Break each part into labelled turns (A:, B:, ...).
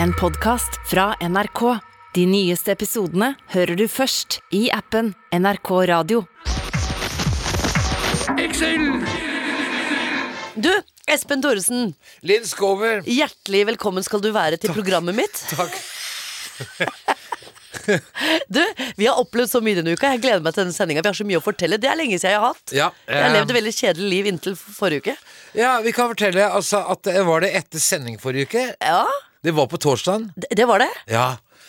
A: En podcast fra NRK. De nyeste episodene hører du først i appen NRK Radio.
B: Du, Espen Thoresen,
C: Linn Skåber.
B: hjertelig velkommen skal du være til programmet mitt.
C: Takk.
B: Du, Vi har opplevd så mye denne uka. Jeg gleder meg til denne sendinga. Vi har så mye å fortelle. Det er lenge siden jeg har hatt.
C: Ja,
B: Jeg har
C: eh,
B: levd et veldig kjedelig liv inntil forrige uke.
C: Ja, Vi kan fortelle altså, at det var det etter sending forrige uke.
B: Ja,
C: Det var på torsdagen.
B: det, det var det.
C: Ja.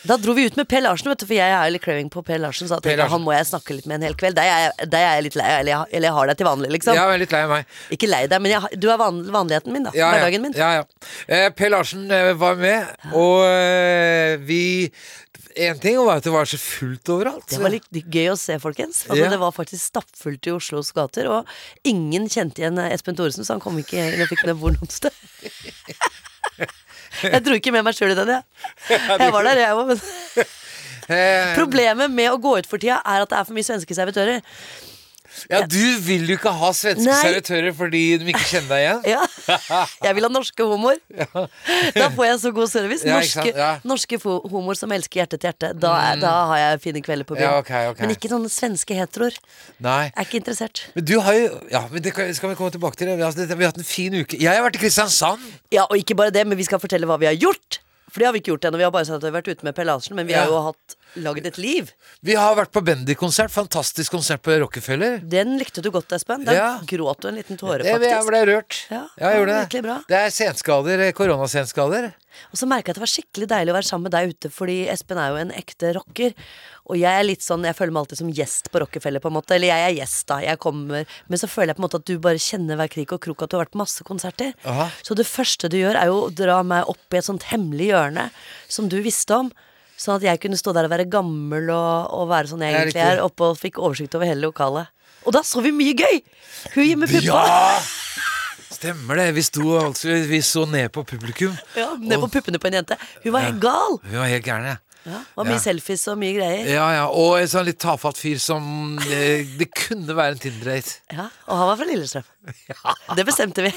B: Da dro vi ut med Per Larsen, vet du, for jeg er jo litt craving på Per Larsen. Så jeg
C: Per
B: tenkte,
C: Larsen.
B: han må jeg snakke litt med en hel kveld. Der er jeg, der er jeg litt lei, eller jeg, eller jeg har deg til vanlig, liksom.
C: Jeg er litt lei meg.
B: Ikke lei deg, men jeg, har- du er van, vanligheten min, da.
C: Ja, ja.
B: Hverdagen min.
C: Ja, ja. Eh, per Larsen eh, var med, og eh, vi En ting var at det var så fullt overalt.
B: Det var litt gøy å se, folkens. Altså,
C: Ja.
B: Det var faktisk stappfullt i Oslos gater, og ingen kjente igjen eh, Espen Thoresen, så han kom ikke inn og fikk ned hvor noe sted. Jeg dro ikke med meg sjøl i den, jeg. Jeg var der, jeg òg, men
C: Eh,
B: Problemet med å gå ut for tida er at det er for mye svenske servitører.
C: ja, du vil jo ikke ha svenske
B: Nei.
C: servitører fordi de ikke kjenner deg igjen.
B: Ja. Jeg vil ha norske homoer. Da får jeg så god service.
C: Ja, ikke sant?
B: Norske,
C: Ja. Mm.
B: norske fo- homoer som elsker hjerte til hjerte. Da, er, da har jeg fine kvelder på byen.
C: Ja, ok, ok.
B: Men ikke sånne svenske heteroer.
C: Nei.
B: Jeg er ikke interessert.
C: Men du har jo Ja, men det kan- skal vi komme tilbake til. det Altså, det- Vi har hatt en fin uke. Jeg har vært i Kristiansand.
B: Ja, og ikke bare det, men vi skal fortelle hva vi har gjort. For det har vi ikke gjort ennå. Vi har bare sagt at vi har vært ute med Per Larsen, men vi har
C: Ja.
B: jo hatt lagd et liv.
C: Vi har vært på Bendy-konsert. Fantastisk konsert på Rockefeller.
B: Den likte du godt, Espen. Der
C: Ja.
B: gråt du en liten tåre,
C: Jeg, jeg
B: faktisk.
C: ble rørt.
B: Ja,
C: Ja, jeg
B: det var
C: gjorde det.
B: virkelig bra.
C: Det er senskader. eh, Koronasenskader.
B: Og så merka jeg at det var skikkelig deilig å være sammen med deg ute, fordi Espen er jo en ekte rocker. Og jeg er litt sånn, jeg føler meg alltid som gjest på Rockefeller, på en måte. Eller jeg er gjest, da. Jeg kommer. Men så føler jeg på en måte at du bare kjenner hver krik og krok, at du har vært på masse konserter.
C: Aha.
B: Så det første du gjør, er jo å dra meg opp i et sånt hemmelig hjørne som du visste om. Sånn at jeg kunne stå der og være gammel og, og være sånn jeg
C: Ja,
B: egentlig
C: riktig.
B: er, oppe og fikk oversikt over hele lokalet. Og da så vi mye gøy! Hun med puppa!
C: Ja! Stemmer det. Vi, sto, altså, vi så ned på publikum.
B: Ja, ned på
C: Og
B: puppene på en jente. Hun var helt gal!
C: vi var helt gærne.
B: Ja, det var mye
C: Ja.
B: selfies og mye greier.
C: Ja, ja. Og en sånn litt tafatt fyr som eh, Det kunne være en Tinder-date.
B: Ja, og han var fra Lillestrøm. Det bestemte vi.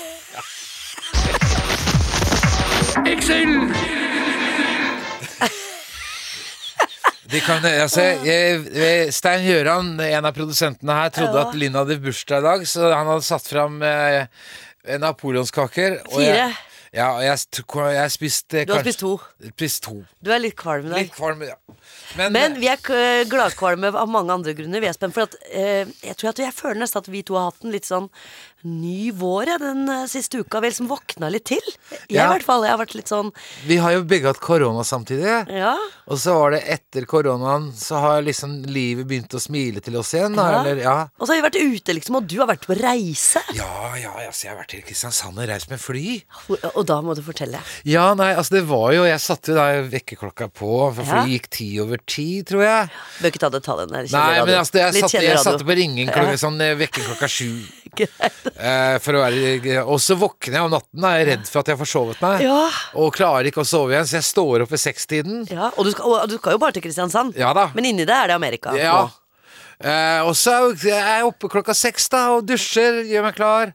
C: De kan- Altså, jeg- jeg- Stein Gjøran, en av produsentene her, trodde
B: Ja.
C: at Linn hadde bursdag i dag, så han hadde satt fram eh, napoleonskaker. og jeg-
B: Fire.
C: Ja, og jeg, st- jeg spiste
B: Du har spist to.
C: Spist to.
B: Du er litt kvalm i dag.
C: Litt kvalm, ja. Men,
B: Men vi er k- gladkvalme av mange andre grunner. Vi er spent, for at, eh, jeg, tror at, jeg føler nesten at vi to har hatt en litt sånn ny vår ja, den eh, siste uka. Vi har liksom våkna litt til. Jeg i
C: Ja.
B: hvert fall. Jeg har vært litt sånn
C: vi har jo begge hatt korona samtidig.
B: Ja.
C: Og så var det etter koronaen, så har liksom livet begynt å smile til oss igjen. Da,
B: Ja.
C: Eller, ja.
B: Og så har vi vært ute, liksom, og du har vært på reise.
C: Ja, ja, altså, jeg har vært i Kristiansand og reist med fly.
B: Hvor- Og da må du fortelle.
C: Ja, nei, altså det var jo Jeg satte jo da vekkerklokka på, for
B: Ja.
C: flyet gikk ti over ti, tror jeg.
B: Bør ikke ta detaljene. det kjenner
C: Nei,
B: radio.
C: men altså, jeg
B: Litt
C: satte,
B: kjenner
C: jeg
B: radio.
C: satte på ringen klokka, sånn, eh, vekker klokka sju.
B: Greit.
C: Eh, for å være, og så våkner jeg om natten, da, jeg er redd for at jeg har forsovet meg.
B: Ja.
C: Og klarer ikke å sove igjen, så jeg står opp ved sekstiden.
B: Ja, og, du skal, og du skal jo bare til Kristiansand.
C: Ja da.
B: Men inni det er det Amerika.
C: Ja.
B: nå.
C: Eh, og så er jo- jeg er jeg oppe klokka seks da og dusjer, gjør meg klar,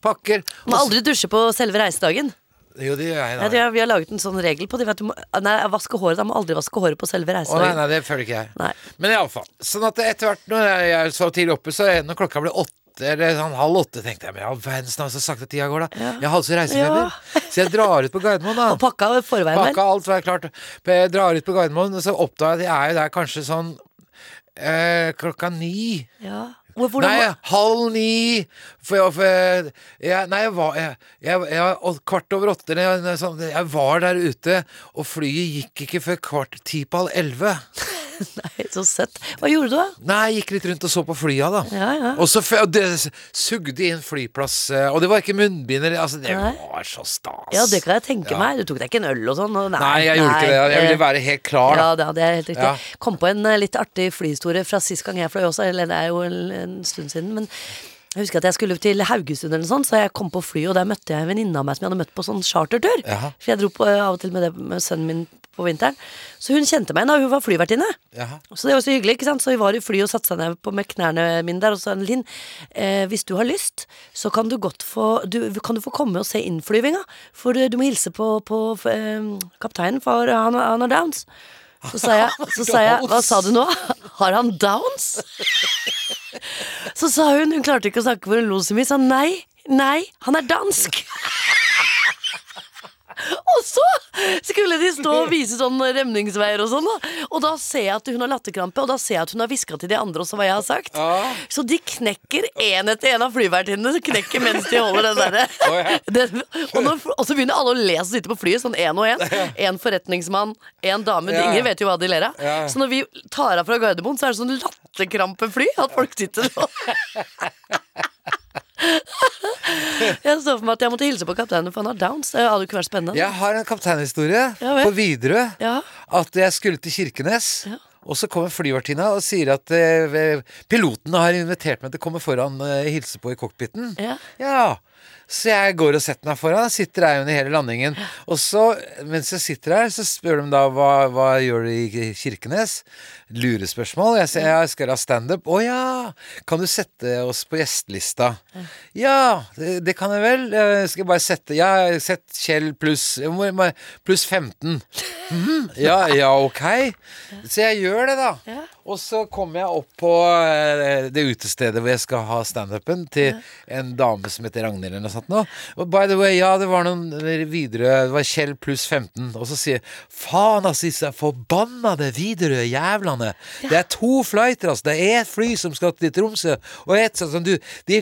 C: pakker
B: Oh! Må aldri dusje på selve reisedagen.
C: Jo, det gjør jeg.
B: Nei,
C: Da.
B: det er- vi har laget en sånn regel på det. vet Du må, nei, vaske håret, da må aldri vaske håret på selve
C: Å nei,
B: reisedagen.
C: nei, det føler ikke jeg.
B: Nei.
C: Men iallfall. Sånn at etter hvert når jeg, jeg så tidlig oppe, så er- når klokka ble åtte eller sånn halv åtte, tenkte jeg. Men ja, verdens navn, så sakte tida går, da. Jeg har altså reisefeber. Så jeg drar ut på Gardermoen, da.
B: Og pakka i forveien,
C: Pakka
B: vel?
C: alt, var klart. Jeg drar ut på Gardermoen, og så oppdager jeg at jeg er jo der kanskje sånn eh, klokka ni.
B: Ja. Hvor- Hvordan,
C: Nei, halv ni for jeg, for jeg, jeg, Nei, jeg var jeg, jeg, jeg, og Kvart over åtte eller noe sånt. Jeg var der ute Og flyet gikk ikke før kvart ti på halv elve
B: nei, så søtt. Hva gjorde du, da?
C: Nei, jeg gikk litt rundt og så på flya da
B: Ja, ja.
C: Og så f- og det sugde inn flyplass eh, Og det var ikke munnbinder altså, Det
B: Nei.
C: var så stas
B: Ja, det kan jeg tenke
C: Ja.
B: meg. Du tok deg ikke en øl og sånn? og Nei,
C: Nei, jeg gjorde ikke det Jeg ville være helt klar da
B: Ja, da, det er helt riktig.
C: Ja.
B: Kom på en eh, litt artig flyhistorie fra sist gang jeg fløy også, eller det er jo en, en stund siden, men jeg husker at jeg skulle til Haugesund eller noe sånt, så jeg kom på flyet, og der møtte jeg en venninne av meg som jeg hadde møtt på sånn chartertur.
C: Jaha.
B: For jeg dro på, av og til med det med sønnen min på på vinteren. Så hun kjente meg da hun var flyvertinne.
C: Jaha.
B: Så det var så hyggelig, ikke sant? Så vi var i fly og satte seg ned på med knærne mine der, og så sa han, Linn, eh, hvis du har lyst, så kan du godt få, du, kan du få komme og se innflyvinga, for du, du må hilse på, på eh, kapteinen, for han, han har downs. Så sa, jeg, så sa jeg, hva sa du nå? Har han downs? Så sa hun, hun klarte ikke å snakke for hun lo så mye, sa nei, nei, han er dansk. Og så skulle de stå og vise sånn remningsveier og sånn. da. Og da ser jeg at hun har latterkrampe, og da ser jeg at hun har hviska til de andre også hva jeg har sagt.
C: Ja.
B: Så de knekker én etter én av flyvertinnene. så Knekker mens de holder den derre. Den- Og, når- og så begynner alle å le som sitter på flyet, sånn én og én. Én forretningsmann, én dame.
C: Ja.
B: Ingen vet jo hva de ler av.
C: Ja.
B: Så når vi tar av fra Gardermoen, så er det sånn latterkrampefly at folk sitter og Jeg så for meg at jeg måtte hilse på kapteinen, for han har downs. Det hadde jo ikke vært spennende.
C: Jeg har en kapteinhistorie
B: Ja vel.
C: på Widerøe.
B: Ja.
C: At jeg skulle til Kirkenes.
B: Ja.
C: Og så kommer flyvertinna og sier at eh, ve- piloten har invitert meg til å komme foran og hilse på i cockpiten.
B: Ja.
C: Så jeg går og setter meg foran, sitter der under hele landingen. Og så, mens jeg sitter der, så spør de da hva, hva gjør du i Kirkenes? Lurespørsmål. Jeg sier jeg skal ha standup. Å ja! Kan du sette oss på gjestelista? Ja, det, det kan jeg vel. Eh, Skal jeg bare sette Jeg har sett Kjell pluss jeg må- må- Pluss 15. Mhm, ja, ja, ok. Så jeg gjør det, da.
B: Ja.
C: Og så kommer jeg opp på eh, det utestedet hvor jeg skal ha standupen, til en dame som heter Ragnhild eller noe sånt. nå. Og by the way, ja, det var noen Widerøe Det var Kjell pluss 15. Og så sier jeg, faen, altså, disse forbannede Widerøe-jævlene. Det er to flighter, altså. Det er et fly som skal til Tromsø, og et sånt som du de,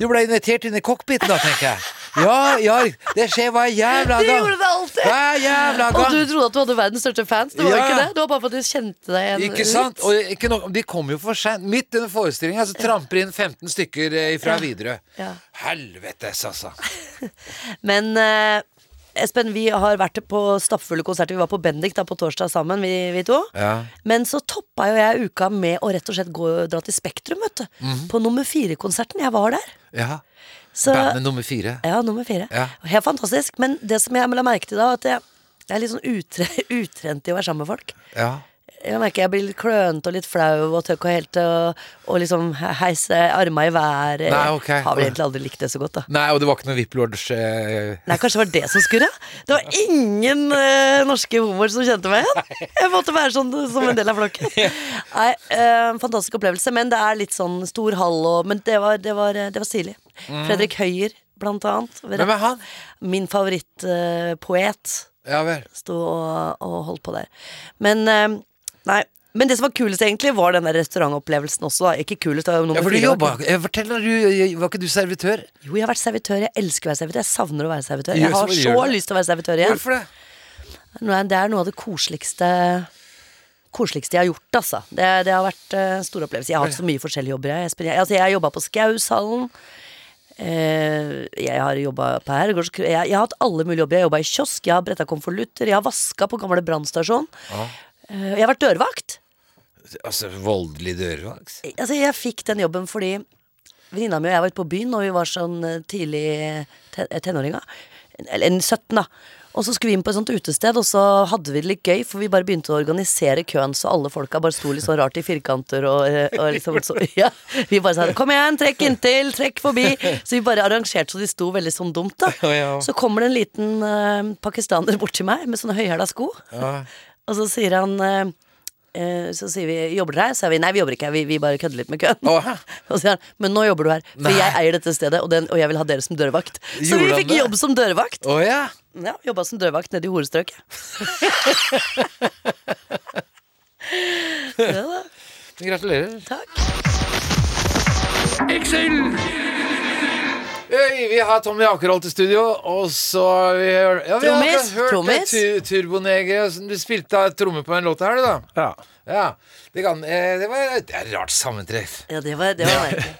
C: Du ble invitert inn i cockpiten, da, tenker jeg. Ja, ja, det skjer hver jævla
B: De
C: gang.
B: gjorde det alltid.
C: Hver jævla gang.
B: Og du trodde at du hadde verdens største fans. Det var
C: Ja.
B: ikke det. Det var bare for at de kjente deg igjen.
C: Ikke sant? Og ikke nok, de kommer jo for seint. Midt under forestillinga så tramper inn 15 stykker eh, fra Widerøe.
B: Ja.
C: Helvetes, altså.
B: Men eh, Espen, vi har vært på stappfulle konserter. Vi var på Bendik da på torsdag sammen, vi, vi to.
C: Ja.
B: Men så toppa jo jeg uka med å rett og slett gå og dra til Spektrum, vet du.
C: Mhm.
B: På nummer fire-konserten. Jeg var der.
C: Ja.
B: Så,
C: Bandet nummer fire.
B: ja, nummer fire.
C: Ja.
B: Helt fantastisk. Men det som jeg la merke til da, at jeg, jeg er litt sånn utre, utrent i å være sammen med folk.
C: Ja.
B: Jeg merker jeg blir litt klønete og litt flau og tøkk og helt og, og liksom heise arma i været.
C: Nei, ok.
B: Har vel egentlig aldri likt det så godt, da.
C: Nei, og det var ikke noe Whiplords eh,
B: Nei, kanskje det var det som skurra? Det var ingen eh, norske homoer som kjente meg igjen. Jeg måtte være sånn eh, som en del av flokken. Nei, eh, Fantastisk opplevelse, men det er litt sånn stor hall og Men det var, det var, eh, det var stilig. Fredrik Høyer, blant annet.
C: Mm. Hvem er han?
B: Min eh, favorittpoet
C: Ja vel.
B: sto og, og holdt på der. Men eh, Nei. Men det som var kulest, egentlig, var den der restaurantopplevelsen også. Da. Ikke kulest, det var jo nummer
C: Ja, for du
B: fire, da.
C: jobba eh, Fortell, når du, var ikke du servitør?
B: Jo, jeg har vært servitør. Jeg elsker å være servitør. Jeg savner å være servitør.
C: Gjør-
B: Jeg har så
C: gjør du det?
B: lyst til å være servitør igjen.
C: Hvorfor det?
B: Nei, det er noe av det koseligste Koseligste jeg har gjort, altså. Det, det har vært eh, en stor opplevelse. Jeg har hatt så mye forskjellige jobber. Jeg, Espen. jeg, altså, jeg har jobba på Skaushallen. Eh, jeg har jobba på Herregårds jeg, jeg har hatt alle mulige jobber. Jeg har jobba i kiosk, jeg har bretta konvolutter, jeg har vaska på gamle brannstasjon. Eh, jeg har vært dørvakt.
C: Altså, voldelig dørvakt?
B: Altså, jeg fikk den jobben fordi venninna mi og jeg var ute på byen når vi var sånn eh, tidlig te tenåringa. Eller en 17, da. Og så skulle vi inn på et sånt utested, og så hadde vi det litt gøy, for vi bare begynte å organisere køen, så alle folka bare sto litt sånn rart i firkanter og, eh, og liksom så, ja. Vi bare sa 'kom igjen, trekk inntil, trekk forbi'. Så vi bare arrangerte så de sto veldig sånn dumt, da.
C: Ja, ja.
B: Så kommer det en liten eh, pakistaner bort til meg med sånne høyhæla sko.
C: Ja.
B: Og så sier han eh, eh, Så sier vi 'jobber dere her?' Så sier vi 'nei, vi jobber ikke her, vi, vi bare kødder litt med køen'.
C: Åh.
B: Og så sier han 'men nå jobber du her, for
C: Nei.
B: jeg eier dette stedet, og, den, og jeg vil ha dere som dørvakt'. Så
C: Gjorde
B: vi
C: han
B: fikk
C: det?
B: jobb som dørvakt.
C: Å ja.
B: Ja, Jobba som dørvakt nede i horestrøket. ja da,
C: Gratulerer.
B: takk.
C: Øy, Vi har Tommy Akerholt til studio, og så har vi hørt- ja, vi har
B: Trommis,
C: hørt eh,
B: trommis.
C: Tu- Turboneger. som Du spilte av tromme på en låt her, du, da.
D: Ja.
C: Ja, det, kan, eh, det var det er et rart sammentreff.
B: Ja, det var, det var merkelig.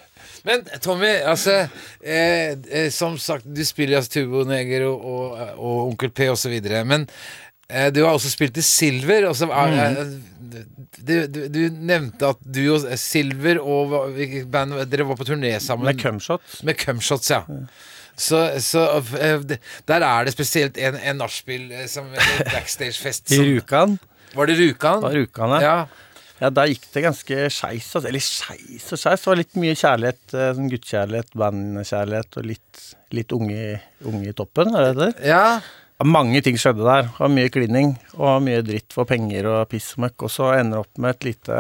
C: Men Tommy, altså eh, eh, Som sagt, du spiller altså Turbo Neger og, og, og Onkel P og så videre Men eh, du har også spilt i Silver. Og så, er- eh, du, du, du nevnte at du og Silver og hva- hvilket band Dere var på turné sammen.
D: Med cumshot.
C: Med Cumshots, ja. Så, så eh, det- der er det spesielt en, en nachspiel eh, som eller backstage-fest
D: I
C: som
D: Rjukan.
C: Var det Rjukan?
D: Da Rjukan, ja.
C: ja.
D: ja. Der gikk det ganske skeis. Altså. Eller skeis og skeis. Det var litt mye kjærlighet. eh, Sånn guttekjærlighet, bandkjærlighet og litt, litt unge, unge i toppen. Er det det? heter?
C: ja.
D: Ja, Mange ting skjedde der. Det var mye klining og mye dritt for penger og piss og møkk. Og så ender det opp med et lite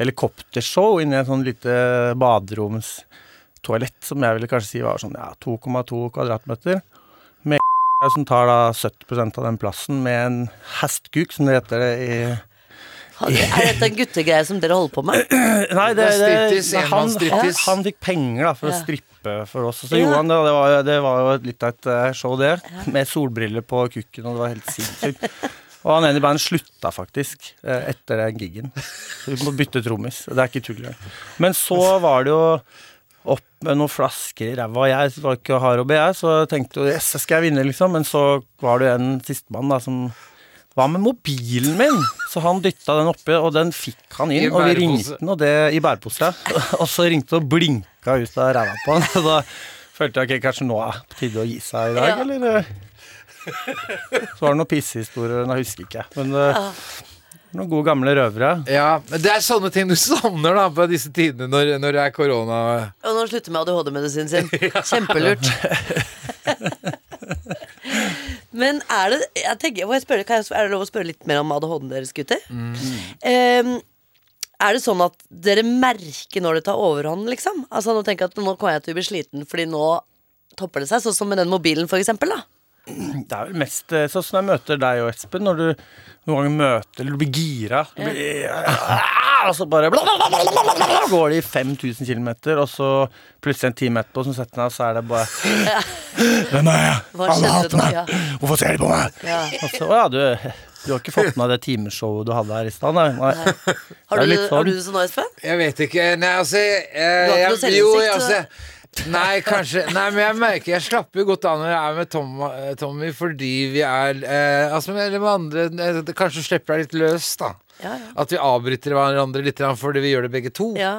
D: helikoptershow inni et sånn lite baderomstoalett som jeg ville kanskje si var sånn ja, 2,2 kvadratmeter. Med som tar da 70 av den plassen med en hestkuk, som det heter det i
B: Er dette en guttegreie som dere holder på med?
D: Nei, det,
C: Det er striptease,
D: nei, han, han,
C: enmannsstriptease.
D: han fikk penger da, for å
B: Ja.
D: strippe for oss. Og så
B: Ja.
D: gjorde han det, og det var, jo- det var jo et- litt av et eh, show, det. Med solbriller på kukken, og det var helt sinnssykt. Og han ene i bandet slutta faktisk eh, etter den gigen. Så vi må bytte trommis. og Det er ikke tull engang. Men så var det jo opp med noen flasker i ræva. Jeg var ikke hard å be, jeg, så jeg tenkte jo yes, jeg skal jeg vinne, liksom. Men så var det jo en sistemann da som Hva med mobilen min? Så han dytta den oppi, og den fikk han inn.
C: I
D: Og vi
C: bærepose.
D: ringte den, og det i bærepose. Og så ringte det og blinka ut av ræva på han. Så da følte jeg ok, kanskje nå er det på tide å gi seg i dag,
B: Ja.
D: eller? eh? Så var det noen pissehistorier, men jeg husker ikke. Men eh, noen gode gamle røvere.
C: ja. Men det er sånne ting du savner da på disse tidene når, når det er korona.
B: Og nå slutter med ADHD-medisinen sin. Kjempelurt. Men er det jeg tenker, må jeg spørre, kan jeg, Er det lov å spørre litt mer om ADHD-en deres, gutter?
D: Mm.
B: Ehm, er det sånn at dere merker når det tar overhånd, liksom? Altså Nå tenker jeg at nå kommer jeg til å bli sliten, fordi nå topper det seg. Sånn som med den mobilen, for eksempel. Da.
D: Det er vel mest eh, sånn som jeg møter deg og Espen, når du noen ganger møter Eller du blir gira. Du blir, Ah, og så bare bla, bla, bla, bla, bla, bla, bla, går de 5000 km, og så plutselig en time etterpå så setter den av, så er det bare Hvem er jeg?
B: Hva skjedde da? Ja.
D: Hvorfor ser de på meg?
B: Ja.
D: Og så, å ja, du, du har ikke fått med deg det timeshowet du hadde her i stad, nei? nei.
B: Har,
D: Det er
B: du, har du
D: litt sånn.
B: det sånn nå, Espen?
C: Jeg vet ikke. Nei, altså jeg,
B: Du har ikke noe
C: jeg- jo,
B: selvinnsikt,
C: jeg,
B: så-
C: altså, Nei, kanskje Nei, men jeg merker Jeg slapper jo godt av når jeg er med Tom, eh, Tommy, fordi vi er eh, Altså, men- eller med andre eh, det Kanskje slipper deg litt løs, da.
B: Ja, ja.
C: At vi avbryter hverandre litt grann fordi vi gjør det begge to.
B: Ja.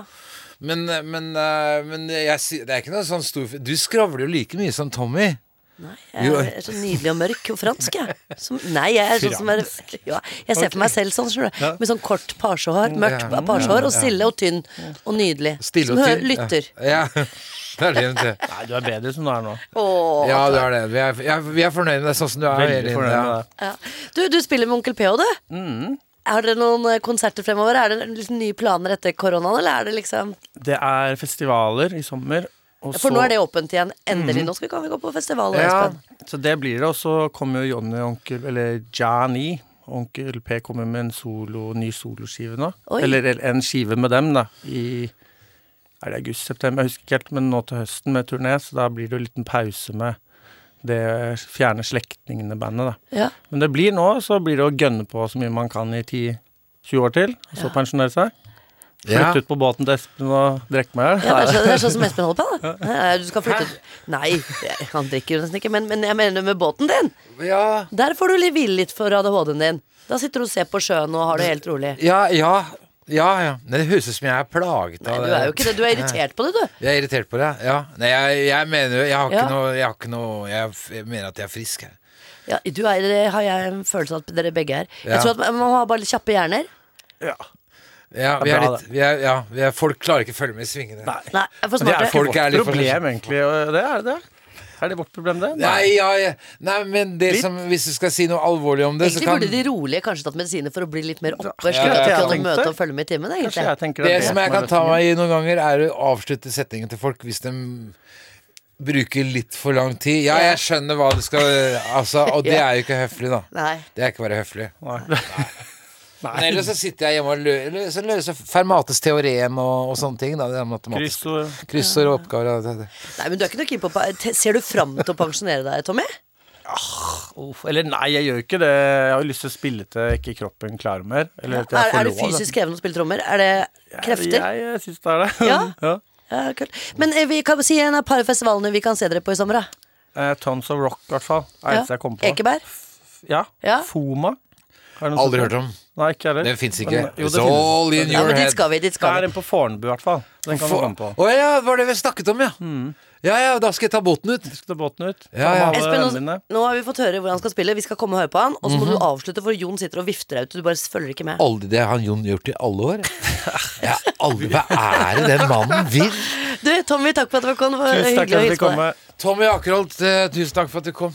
C: Men, eh, men, eh, men jeg, sy- det er ikke noe sånn stor Du skravler jo like mye som Tommy.
B: Nei,
C: Jo.
B: jeg er så nydelig og mørk og fransk, jeg. Som, nei, jeg er sånn som er ja, Jeg ser for meg selv sånn, skjønner du. Med sånn kort parsehår, mørkt
C: Ja.
B: parsehår, og stille og tynn og nydelig.
C: Stille
B: som
C: og
B: hø-
C: tynn.
B: lytter.
C: Ja. ja. Det er det hun sier.
D: nei, du er bedre som du er nå.
B: Åh.
C: Ja, det er det. Vi er, jeg, vi er fornøyd med deg sånn som du er.
D: Veldig
C: Elin,
D: fornøyd med
C: ja.
D: det.
B: Ja. Du, du spiller med Onkel P òg, du.
C: Mm.
B: Har dere noen eh, konserter fremover? Er det liksom nye planer etter koronaen, eller er det liksom
D: Det er festivaler i sommer. og
B: For nå
D: så-
B: er det åpent igjen. Endelig. Nå skal vi, kan vi gå på festival.
C: Mm. Ja.
B: Espen.
D: Så det blir det, og så kommer jo Johnny og onkel, eller Johnny Onkel P kommer med en solo, ny soloskive nå.
B: Oi.
D: Eller, eller en skive med dem, da. I er det august-september, jeg husker ikke helt, men nå til høsten med turné. Så da blir det jo en liten pause med det fjerne slektningene-bandet, da.
B: Ja.
D: Men det blir nå, så blir det å gønne på så mye man kan i 10-20 år til, og så pensjonere seg.
C: Ja.
D: Flytte ut på båten til Espen og drikke meg.
B: Ja, det, er så, det er sånn som Espen holder på, da. Nei, Du skal flytte Nei, han drikker jo nesten ikke, men, men jeg mener med båten din.
C: ja.
B: Der får du li- hvile litt for ADHD-en din. Da sitter du og ser på sjøen og har det helt rolig.
C: Ja, ja. Ja, ja. Men Det høres ut som jeg er plaget
B: Nei,
C: av
B: du er jo ikke det. Du er irritert på det, du.
C: Jeg er irritert på det, ja. Nei, jeg, jeg mener jo Jeg har
B: Ja.
C: ikke noe Jeg, har ikke noe, jeg, f- jeg mener at jeg er frisk her.
B: Ja, du er, det har jeg en følelse av at dere begge er. Jeg
C: Ja.
B: tror at man- man har bare litt kjappe hjerner.
D: Ja.
C: Ja, vi
D: Det er
C: er
D: bra,
C: litt, vi er, ja, vi er, folk klarer ikke å følge med i svingene. Nei,
B: Nei, jeg er for
D: Men det er
B: smarte.
D: ikke
C: Folk
D: vårt
C: er litt for-
D: problem, egentlig. og Det er det. Er det vårt problem, det?
C: ja, ja. Nei men det som, hvis du skal si noe alvorlig om det,
B: Egentlig
C: så kan
B: burde de rolige kanskje tatt medisiner for å bli litt mer oppe.
D: Ja,
B: Slik
C: det
B: at de
C: er
B: kan
D: sant.
B: møte og følge med i timen,
D: Kanskje
B: egentlig.
D: jeg tenker at
C: Det som jeg
D: er
C: kan ta
D: løsningen.
C: meg i noen ganger, er å avslutte setningen til folk hvis de bruker litt for lang tid. Ja, jeg skjønner hva du skal Altså, og det er jo ikke høflig, da.
B: Nei.
C: Det er ikke å være høflig.
D: Nei.
C: Men ellers så sitter jeg hjemme og lø- lø- så løser Fermates teorem og, og sånne ting. Da, det er matematisk.
D: Kryssord.
C: Kryssord og oppgaver. og det- det.
B: Nei, men du er ikke noe keen på pa- te- Ser du fram til å pensjonere deg, Tommy?
D: Uff, Eller nei, jeg gjør ikke det. Jeg har jo lyst til å spille til ikke kroppen klarer mer. Eller at
B: Er,
D: jeg får
B: er det
D: lov, da.
B: fysisk krevende å spille trommer? Er det krefter?
D: Jeg, jeg syns det er det.
B: Ja.
D: Ja.
B: Ja, kult. Men eh, vi kan si en av par festivalene vi kan se dere på i sommer, da.
D: Eh, Tons of Rock, i hvert fall. Er det eneste jeg kom på.
B: Ekeberg.
D: Ja.
B: Ja.
D: Foma. Har du noe
C: Aldri
D: sånt?
C: hørt om.
D: Nei, ikke heller.
C: Den fins ikke.
D: Men, jo,
C: It's
D: det finnes.
C: all in
B: Ja,
C: your
B: men dit
C: head.
B: skal vi, dit
D: Det
B: skal
D: er
B: vi.
D: en på Fornebu, i hvert fall. Den kan du komme på. Mm.
C: Å ja, det var det vi snakket om, ja. Ja ja, da skal jeg ta båten ut.
D: Skal ta båten ut.
C: Ja,
D: Ta med
C: ja.
D: alle
B: Espen,
D: vennene dine.
B: nå, nå har vi fått høre hvor han skal spille. Vi skal komme og høre på han. Og så må
C: Mhm.
B: du avslutte, for Jon sitter og vifter deg ut. Du bare følger ikke med.
C: Aldri det har han Jon gjort i alle år. Ja, aldri, Hva er det den mannen vil?
B: Du, Tommy, takk for at du kom. Det var
D: Tusen takk
B: hyggelig
D: for
B: å
D: at
B: hilse
D: du
B: på deg.
D: kom. med.
C: Tommy Akerholt, eh, tusen takk for at du kom.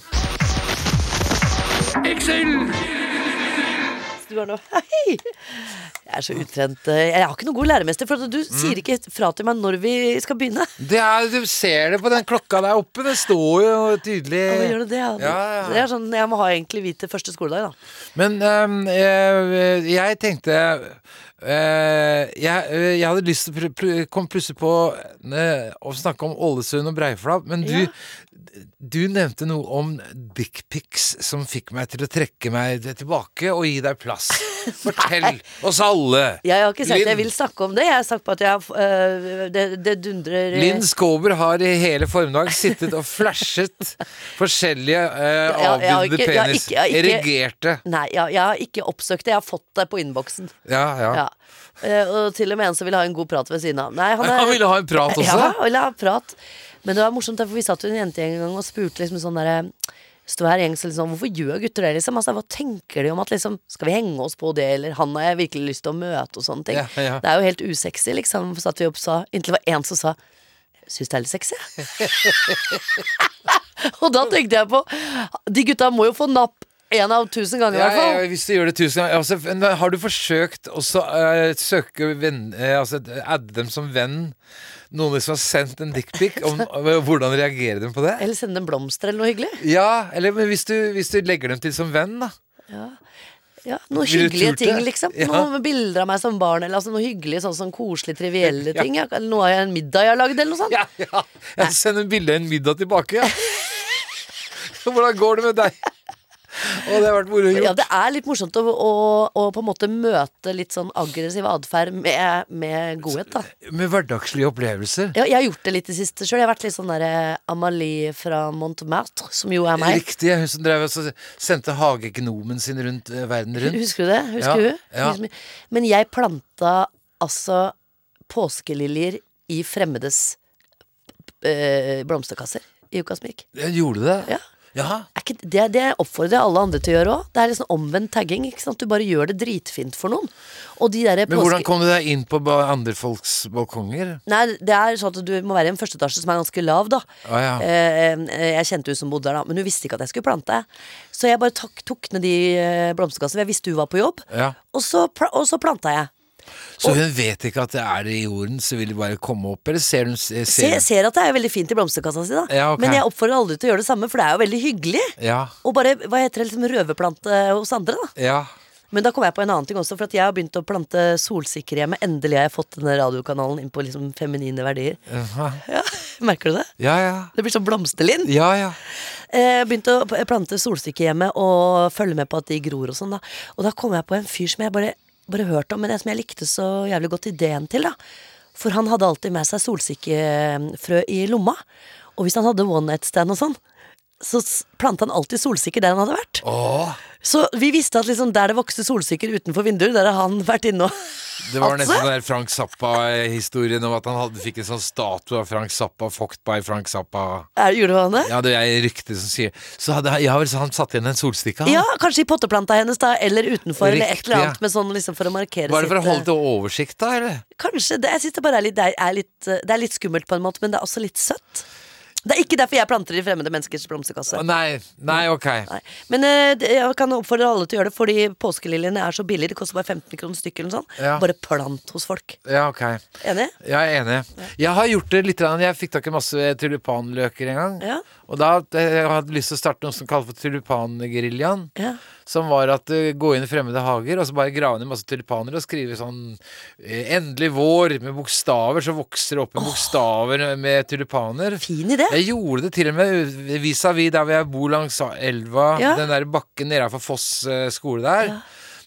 B: du er nå Hei! Jeg er så utrent. eh, Jeg har ikke noen god læremester, for at
C: Mhm.
B: du sier ikke fra til meg når vi skal begynne.
C: Det er, du ser det på den klokka der oppe. Det står jo
B: Ja, men gjør
C: tydelig
B: du det, ja.
C: Ja, ja.
B: Det er sånn, jeg må ha egentlig hvite første skoledag, da.
C: Men ehm, eh, jeg tenkte eh, jeg, eh, jeg hadde lyst til å pr- pr- komme plutselig på eh, å snakke om Ålesund og Breiflabb, men du, du nevnte noe om dickpics som fikk meg til å trekke meg tilbake og gi deg plass. Fortell oss alle!
B: Jeg har ikke sagt at jeg
C: Linn.
B: vil snakke om det. Jeg har sagt bare at jeg, har- øh, det, det dundrer
C: Linn Skåber har i hele formiddag sittet og flashet forskjellige eh,
B: Ja, jeg har
C: avbildede
B: ikke- jeg har
C: penis.
B: ikke- jeg har ikke-
C: Erigerte.
B: Nei, jeg, jeg har ikke oppsøkt det. Jeg har fått det på innboksen.
C: Ja, ja.
B: Ja. Eh, og til og med en som ville ha en god prat ved siden av. Nei, han er
C: Han ville ha en prat også?
B: Ja, og la prat. Men det var morsomt, for vi satt jo i en jentegjeng en gang og spurte liksom sånn derre Stå her gjengs, liksom, hvorfor gjør gutter det, liksom? Altså, hva tenker de om at liksom Skal vi henge oss på det, eller han har jeg virkelig lyst til å møte, og sånne ting.
C: Ja, ja.
B: Det er jo helt usexy, liksom, satt vi opp og sa. Inntil det var én som sa Syns det er litt sexy. og da tenkte jeg på De gutta må jo få napp én av tusen ganger, i
C: Ja,
B: hvert fall.
C: ja, hvis du gjør det tusen ganger altså, men Har du forsøkt å eh, søke venn, eh, altså, Adde dem som venn Noen som har sendt en dickpic om- om Hvordan reagerer de på det?
B: Eller sende en blomster, eller noe hyggelig.
C: Ja, eller men hvis, du, hvis du legger dem til som venn da
B: Ja, Noen
C: Ville du
B: hyggelige
C: turt
B: ting,
C: det?
B: liksom.
C: Ja.
B: Noe med bilder av meg som barn, eller altså, noe hyggelig, sånn som koselige, trivielle ting. Ja. Nå har jeg en middag jeg har lagd, eller noe sånt.
C: Ja, ja Jeg sender en bilde av en middag tilbake ja. Hvordan går det med deg? Å, det har vært moro
B: Ja,
C: gjort
B: det er litt morsomt å, å, å på en måte møte litt sånn aggressiv atferd med, med godhet, da.
C: Med hverdagslige opplevelser
B: Ja, jeg har gjort det litt i det siste sjøl. Jeg har vært litt sånn der eh, Amalie fra Montmartre, som jo er meg.
C: Riktig, hun som drev, og så sendte hagegnomen sin rundt eh, verden rundt
B: Husker du det? Husker
C: Ja,
B: hun?
C: ja.
B: Husker du? Men jeg planta altså påskeliljer i fremmedes eh, blomsterkasser i uka som gikk.
C: Ja, Gjorde du det?
B: Ja.
C: Ja,
B: er ikke, det, det oppfordrer jeg alle andre til å gjøre òg. Det er liksom omvendt tagging. ikke sant? Du bare gjør det dritfint for noen. Og de der
C: Men hvordan
B: påske...
C: kom du deg inn på ba- andre folks balkonger?
B: Nei, det er sånn at du må være i en førsteetasje som er ganske lav, da.
C: Å ja.
B: Eh, eh, jeg kjente hun som bodde der, da, men hun visste ikke at jeg skulle plante. Så jeg bare tok, tok ned de eh, blomsterkassene. Jeg visste hun var på jobb,
C: Ja.
B: og, så, pla- og så planta jeg.
C: Så hun vet ikke at det er det i jorden, så vil de bare komme opp, eller ser hun ser,
B: Så jeg ser at det er veldig fint i blomsterkassa si, da.
C: Ja, ok.
B: Men jeg oppfordrer alle til å gjøre det samme, for det er jo veldig hyggelig.
C: Ja,
B: Og bare, hva heter det, liksom røverplante hos andre, da.
C: ja.
B: Men da kom jeg på en annen ting også, for at jeg har begynt å plante solsikkehjemmet. Endelig har jeg fått denne radiokanalen inn på liksom feminine verdier.
C: aha.
B: Ja, Merker du det?
C: Ja, ja.
B: Det blir sånn blomsterlind.
C: Ja, ja.
B: Eh, begynte å p- plante solsikkehjemmet og følge med på at de gror og sånn, da. Og da kom jeg på en fyr som jeg bare, bare hørte om, men en som jeg likte så jævlig godt ideen til, da. For han hadde alltid med seg solsikkefrø i lomma. Og hvis han hadde one night stand og sånn, så s- planta han alltid solsikker der han hadde vært.
C: Åh,
B: Så vi visste at liksom der det vokste solsikker utenfor vinduer, der har han vært inne og
C: det var
B: Altså?
C: nesten den der Frank Zappa-historien om at han hadde, fikk en sånn statue av Frank Zappa, fucked by Frank Zappa.
B: Er det julevane? Ja.
C: Ja, det er ryktet som sier. Så hadde, ja, vel, så han satt igjen en solstikke, han.
B: kanskje i potteplanta hennes, da, eller utenfor, eller et
C: Riktig,
B: eller annet.
C: ja.
B: Med sånn liksom for å markere
C: Var det for å
B: sitt,
C: holde
B: eh,
C: til oversikt da, eller?
B: Kanskje. Det, jeg synes det bare er litt, det er, er litt eh, Det er litt skummelt på en måte, men det er også litt søtt. Det er ikke derfor jeg planter i fremmede menneskers blomsterkasse.
C: Å, Nei, nei, ok.
B: Nei. Men eh, det- jeg kan oppfordre alle til å gjøre det, fordi påskeliljene er så billige. Det koster bare 15 kroner stykket eller noe sånt.
C: Ja.
B: Bare plant hos folk.
C: Ja, ok.
B: Enig?
C: Jeg er enig. Jeg har gjort det litt. grann. Jeg fikk tak i masse tulipanløker en gang.
B: Ja.
C: Og da eh, jeg hadde jeg lyst til å starte noe som kalles for tulipangeriljaen.
B: Ja.
C: Som var at eh, gå inn i fremmede hager og så bare grave ned masse tulipaner og skrive sånn eh, 'Endelig vår' med bokstaver. Så vokser det opp med bokstaver med tulipaner.
B: Fin idé.
C: Jeg gjorde det til og med vis-à-vis der hvor jeg bor langs elva,
B: Ja.
C: den der bakken nedenfor Foss eh, skole der.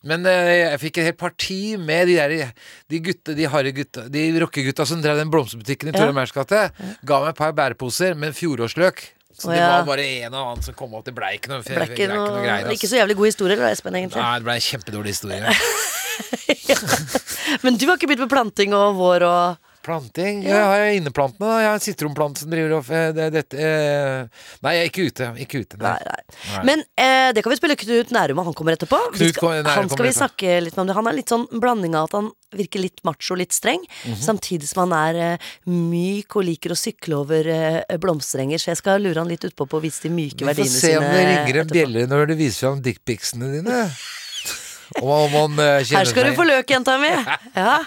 C: Men eh, jeg fikk et helt parti med de der De gutta, de harde gutta, de rockegutta som drev den blomsterbutikken i Tore Meirs gate. Ga meg et par bæreposer med fjorårsløk. Så
B: Å,
C: det
B: ja.
C: var bare en og annen som kom opp. Det blei ikke noe,
B: Det ble ikke noe,
C: greier.
B: ikke
C: Altså.
B: så jævlig god historie, da, Espen, egentlig.
C: Nei, det blei en kjempedårlig historie.
B: Men du har ikke begynt med planting og vår og
C: Planting? Ja. Jeg har inneplantene. da. Jeg har en sitronplante som driver og eh, det, dette, eh, Nei, jeg er ikke ute. Ikke ute
B: Nei,
C: nei.
B: nei.
C: Nei.
B: Men eh, det kan vi spille Knut Nærum, og han kommer etterpå. Vi
C: Knut
B: skal,
C: kommer- Nærum
B: han skal vi
C: kommer
B: snakke litt med om det. Han er litt sånn en blanding av at han virker litt macho, litt streng,
C: Mhm.
B: samtidig som han er eh, myk og liker å sykle over eh, blomsterenger. Så jeg skal lure han litt utpå på å vise de myke
C: Vi
B: verdiene
C: får se
B: sine.
C: om det ringer en
B: etterpå.
C: bjelle når du viser fram dickpicsene dine. Om han, om han eh,
B: Her
C: kjenner
B: skal du få
C: seg
B: løk, jenta mi! Ja.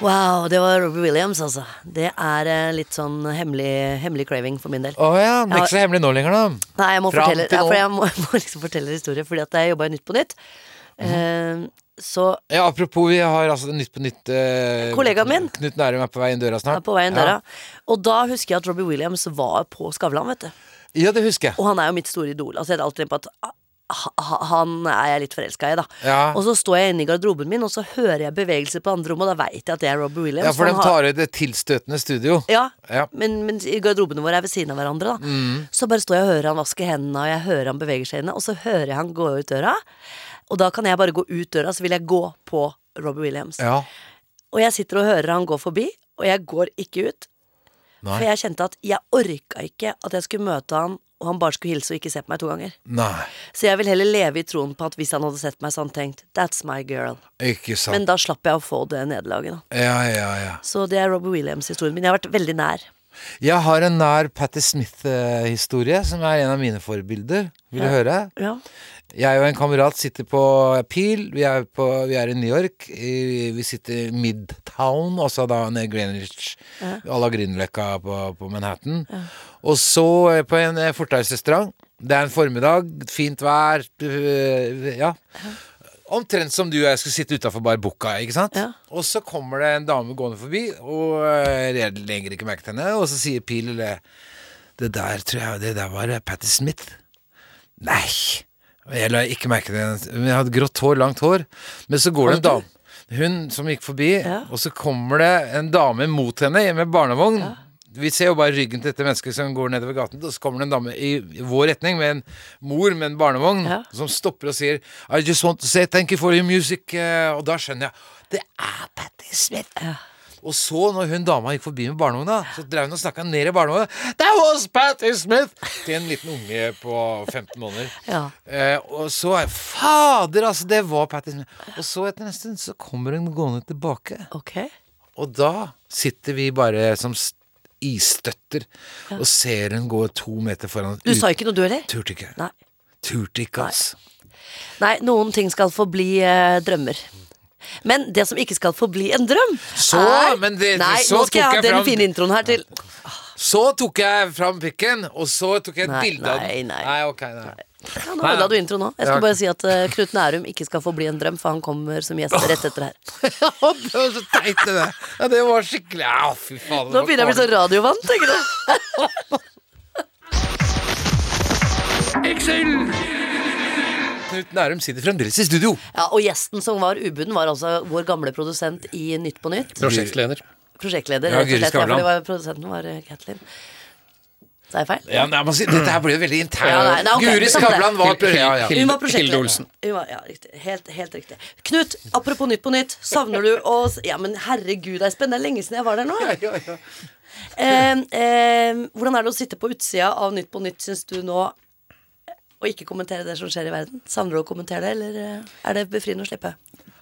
B: Wow, det var Robbie Williams, altså. Det er eh, litt sånn hemmelig, hemmelig craving for min del.
C: Å ja. Den er ikke så hemmelig nå lenger, da.
B: Nei, jeg må
C: Fram
B: fortelle,
C: til
B: ja,
C: nå.
B: for jeg må, jeg må liksom fortelle historie, fordi at jeg jobba i Nytt på Nytt.
C: Mhm.
B: Eh, så
C: Ja, apropos, vi har altså Nytt på Nytt eh,
B: Kollegaen min.
C: Knut Nærum er på vei inn døra
B: jeg er
C: snart.
B: eh, på vei inn døra.
C: Ja.
B: Og da husker jeg at Robbie Williams var på Skavlan, vet du.
C: Ja, det husker jeg.
B: Og han er jo mitt store idol. Altså, jeg hadde alltid tenkt på at ah, ha- han er jeg litt forelska i, da.
C: Ja.
B: Og så står jeg inne i garderoben min, og så hører jeg bevegelser på andre rommet, og da veit jeg at det er Robbie Williams.
C: Ja, for
B: han
C: de
B: har-
C: tar ut det tilstøtende studio.
B: Ja,
C: Ja.
B: Men, men i garderobene våre er ved siden av hverandre. da
C: Mm.
B: Så bare står jeg og hører han vaske hendene, og jeg hører han beveger seg inne, og så hører jeg han gå ut døra. Og da kan jeg bare gå ut døra, så vil jeg gå på Robbie Williams.
C: Ja.
B: Og jeg sitter og hører han gå forbi, og jeg går ikke ut.
C: Nei.
B: For jeg kjente at jeg orka ikke at jeg skulle møte han, og han bare skulle hilse og ikke se på meg to ganger.
C: Nei,
B: Så jeg vil heller leve i troen på at hvis han hadde sett meg, så hadde han tenkt 'that's my girl'.
C: ikke sant.
B: Men da slapp jeg å få det nederlaget, da.
C: Ja, ja, ja.
B: Så det er Robbie Williams-historien min. Jeg har vært veldig nær.
C: Jeg har en nær Patti Smith-historie, som er en av mine forbilder. Vil du høre?
B: Ja.
C: Jeg og en kamerat sitter på Peel. Vi er, på, vi er i New York. I, vi sitter i Midtown, altså da nede i Greenwich. À la Grünerløkka på, på Manhattan. Og så eh, på en eh, fortausrestaurant. Det er en formiddag, fint vær øh, Ja. Omtrent som du og jeg skulle sitte utafor Bar Bucca. Ikke sant?
B: Ja.
C: Og så kommer det en dame gående forbi, og øh, jeg legger ikke merke til henne. Og så sier Pil eller Det der tror jeg det der var eh, Patti Smith. Nei! Jeg la ikke merke til henne. Hun hadde grått hår, langt hår. Men så går det en dame Hun som gikk forbi,
B: Ja.
C: og så kommer det en dame mot henne med barnevogn. Vi ser jo bare ryggen til dette mennesket som går nedover gaten, og så kommer det en dame i vår retning med en mor med en barnevogn
B: Ja.
C: som stopper og sier I just want to say thank you for your music. eh, Og da skjønner jeg det er Patti Smith. Og så, når hun dama gikk forbi med barnevogna, så drev hun og snakka ned i barnevogna. That was Patti Smith! Til en liten unge på 15 måneder.
B: Ja.
C: Eh, og så er Fader, altså! Det var Patti Smith. Og så, etter en stund, så kommer hun gående tilbake.
B: Ok.
C: Og da sitter vi bare som s- isstøtter og ser hun gå to meter foran.
B: Du sa ikke noe, du heller?
C: Turte ikke.
B: Nei.
C: Turte ikke, altså.
B: Nei, noen ting skal forbli eh, drømmer. Men det som ikke skal forbli en drøm,
C: Så,
B: er
C: men det-
B: Nei,
C: så
B: nå
C: tok
B: skal jeg ha
C: jeg
B: den
C: fram-
B: fine introen her til
C: Så tok jeg fram pikken, og så tok jeg et
B: Nei,
C: bilde av den.
B: nei, nei.
C: nei, ok, nei.
B: ja, Nå ødela du intro nå. Jeg
C: Ja.
B: skal bare si at eh, Knut Nærum ikke skal forbli en drøm, for han kommer som gjest rett etter her.
C: det var så teit, det der. Ja, det var skikkelig Ja, fy faen.
B: Nå begynner jeg å bli så radiovant, tenker du.
C: Knut Nærum sitter fremdeles i studio.
B: Ja, og gjesten som var ubuden, var altså vår gamle produsent i Nytt på Nytt.
E: Prosjektleder.
B: Prosjektleder,
C: Ja,
B: rett og slett.
C: Guri
B: Ja, for
C: Skavlan.
B: det var, produsenten var eh, Kathleen. Sa jeg feil?
C: Ja, nei, man sier, Dette her ble jo veldig internt.
B: Ja, nei, nei, ok,
C: Guri
B: samme det.
C: Skavlan var ja, ja.
E: Hilde-
B: Hun var prosjektleder.
E: Hilde Olsen.
B: Hun var, ja, riktig. Helt, helt riktig. Knut, apropos Nytt på Nytt. Savner du å s- Ja, men herregud, Espen, det er lenge siden jeg var der nå. Eh, eh, hvordan er det å sitte på utsida av Nytt på Nytt, syns du nå? Og ikke kommentere det som skjer i verden. Savner du å kommentere det, eller eh, er det befriende å slippe?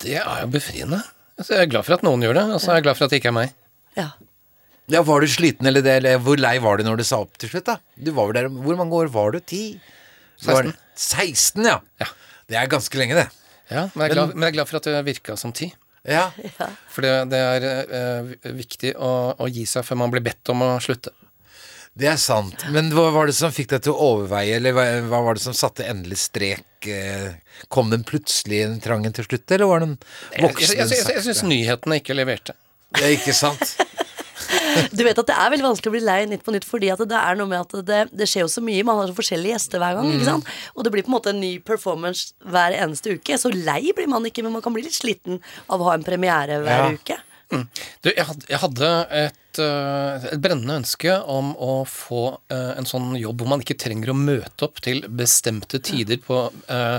E: Det er jo befriende. Altså, jeg er glad for at noen gjør det, og så er jeg glad for at det ikke er meg.
B: Ja.
C: ja, Var du sliten, eller, det, eller hvor lei var du når du sa opp til slutt? da? Du var vel der, Hvor mange år var du? 10?
E: 16.
C: 16, ja.
E: Ja.
C: Det er ganske lenge, det.
E: Ja, men, jeg er glad, men jeg er glad for at det virka som ti.
C: Ja,
E: For det, det er eh, viktig å, å gi seg før man blir bedt om å slutte.
C: Det er sant. Men hva var det som fikk deg til å overveie, eller hva, hva var det som satte endelig strek? eh, Kom den plutselig, den trangen, til slutt, eller var den
E: Jeg,
C: voksen?
E: jeg, jeg, jeg, jeg syns nyhetene ikke leverte.
C: Ja, ikke sant?
B: Du vet at det er veldig vanskelig å bli lei Nytt på Nytt, fordi at det er noe med at det, det skjer jo så mye. Man har så forskjellige gjester hver gang,
E: Mm.
B: ikke sant? Og det blir på en måte en ny performance hver eneste uke. Så lei blir man ikke, men man kan bli litt sliten av å ha en premiere hver
C: Ja.
B: uke.
E: Du, jeg hadde, jeg hadde et, eh, et brennende ønske om å få eh, en sånn jobb hvor man ikke trenger å møte opp til bestemte tider på, eh,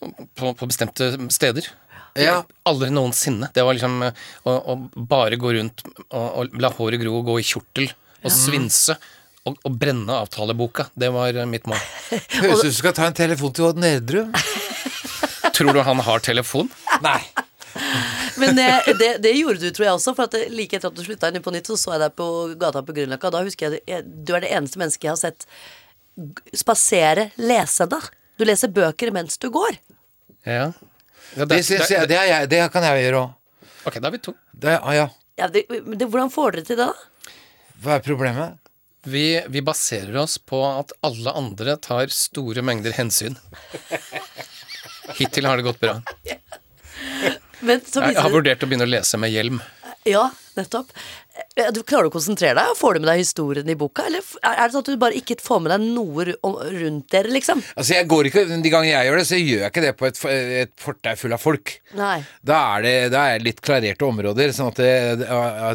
E: på, på bestemte steder. Eh,
C: Ja.
E: Aldri noensinne. Det var liksom eh, å, å bare gå rundt og, og la håret gro og gå i kjortel og svinse. Og, og brenne avtaleboka. Det var eh, mitt mål.
C: Høres ut som du skal ta en telefon til Odd Nerdrum.
E: Tror du han har telefon?
C: Nei.
B: Men det, det, det gjorde du, tror jeg også. For at det- like etter at du slutta i Nytt på Nytt, så så jeg deg på gata på Grünerløkka. og Da husker jeg, jeg Du er det eneste mennesket jeg har sett g- spasere lesende. Du leser bøker mens du går.
E: Ja. Ja,
C: Det, synes jeg, det, er jeg, det kan jeg gjøre òg.
E: ok, da er vi to.
C: Ah, ja.
B: Ja, det, men det, hvordan får dere til det, da?
C: Hva er problemet?
E: Vi, vi baserer oss på at alle andre tar store mengder hensyn. Hittil har det gått bra.
B: Men så
E: Jeg
B: viser
E: har
B: det
E: vurdert å begynne å lese med hjelm.
B: Ja, nettopp. Eh, Du Klarer du å konsentrere deg? Får du med deg historien i boka? Eller f- er er det sånn at du bare ikke får med deg noe ru- om- rundt dere, liksom?
C: Altså, jeg går ikke, De gangene jeg gjør det, så gjør jeg ikke det på et, et fortau full av folk.
B: Nei.
C: Da er det da er det litt klarerte områder. Sånn at det,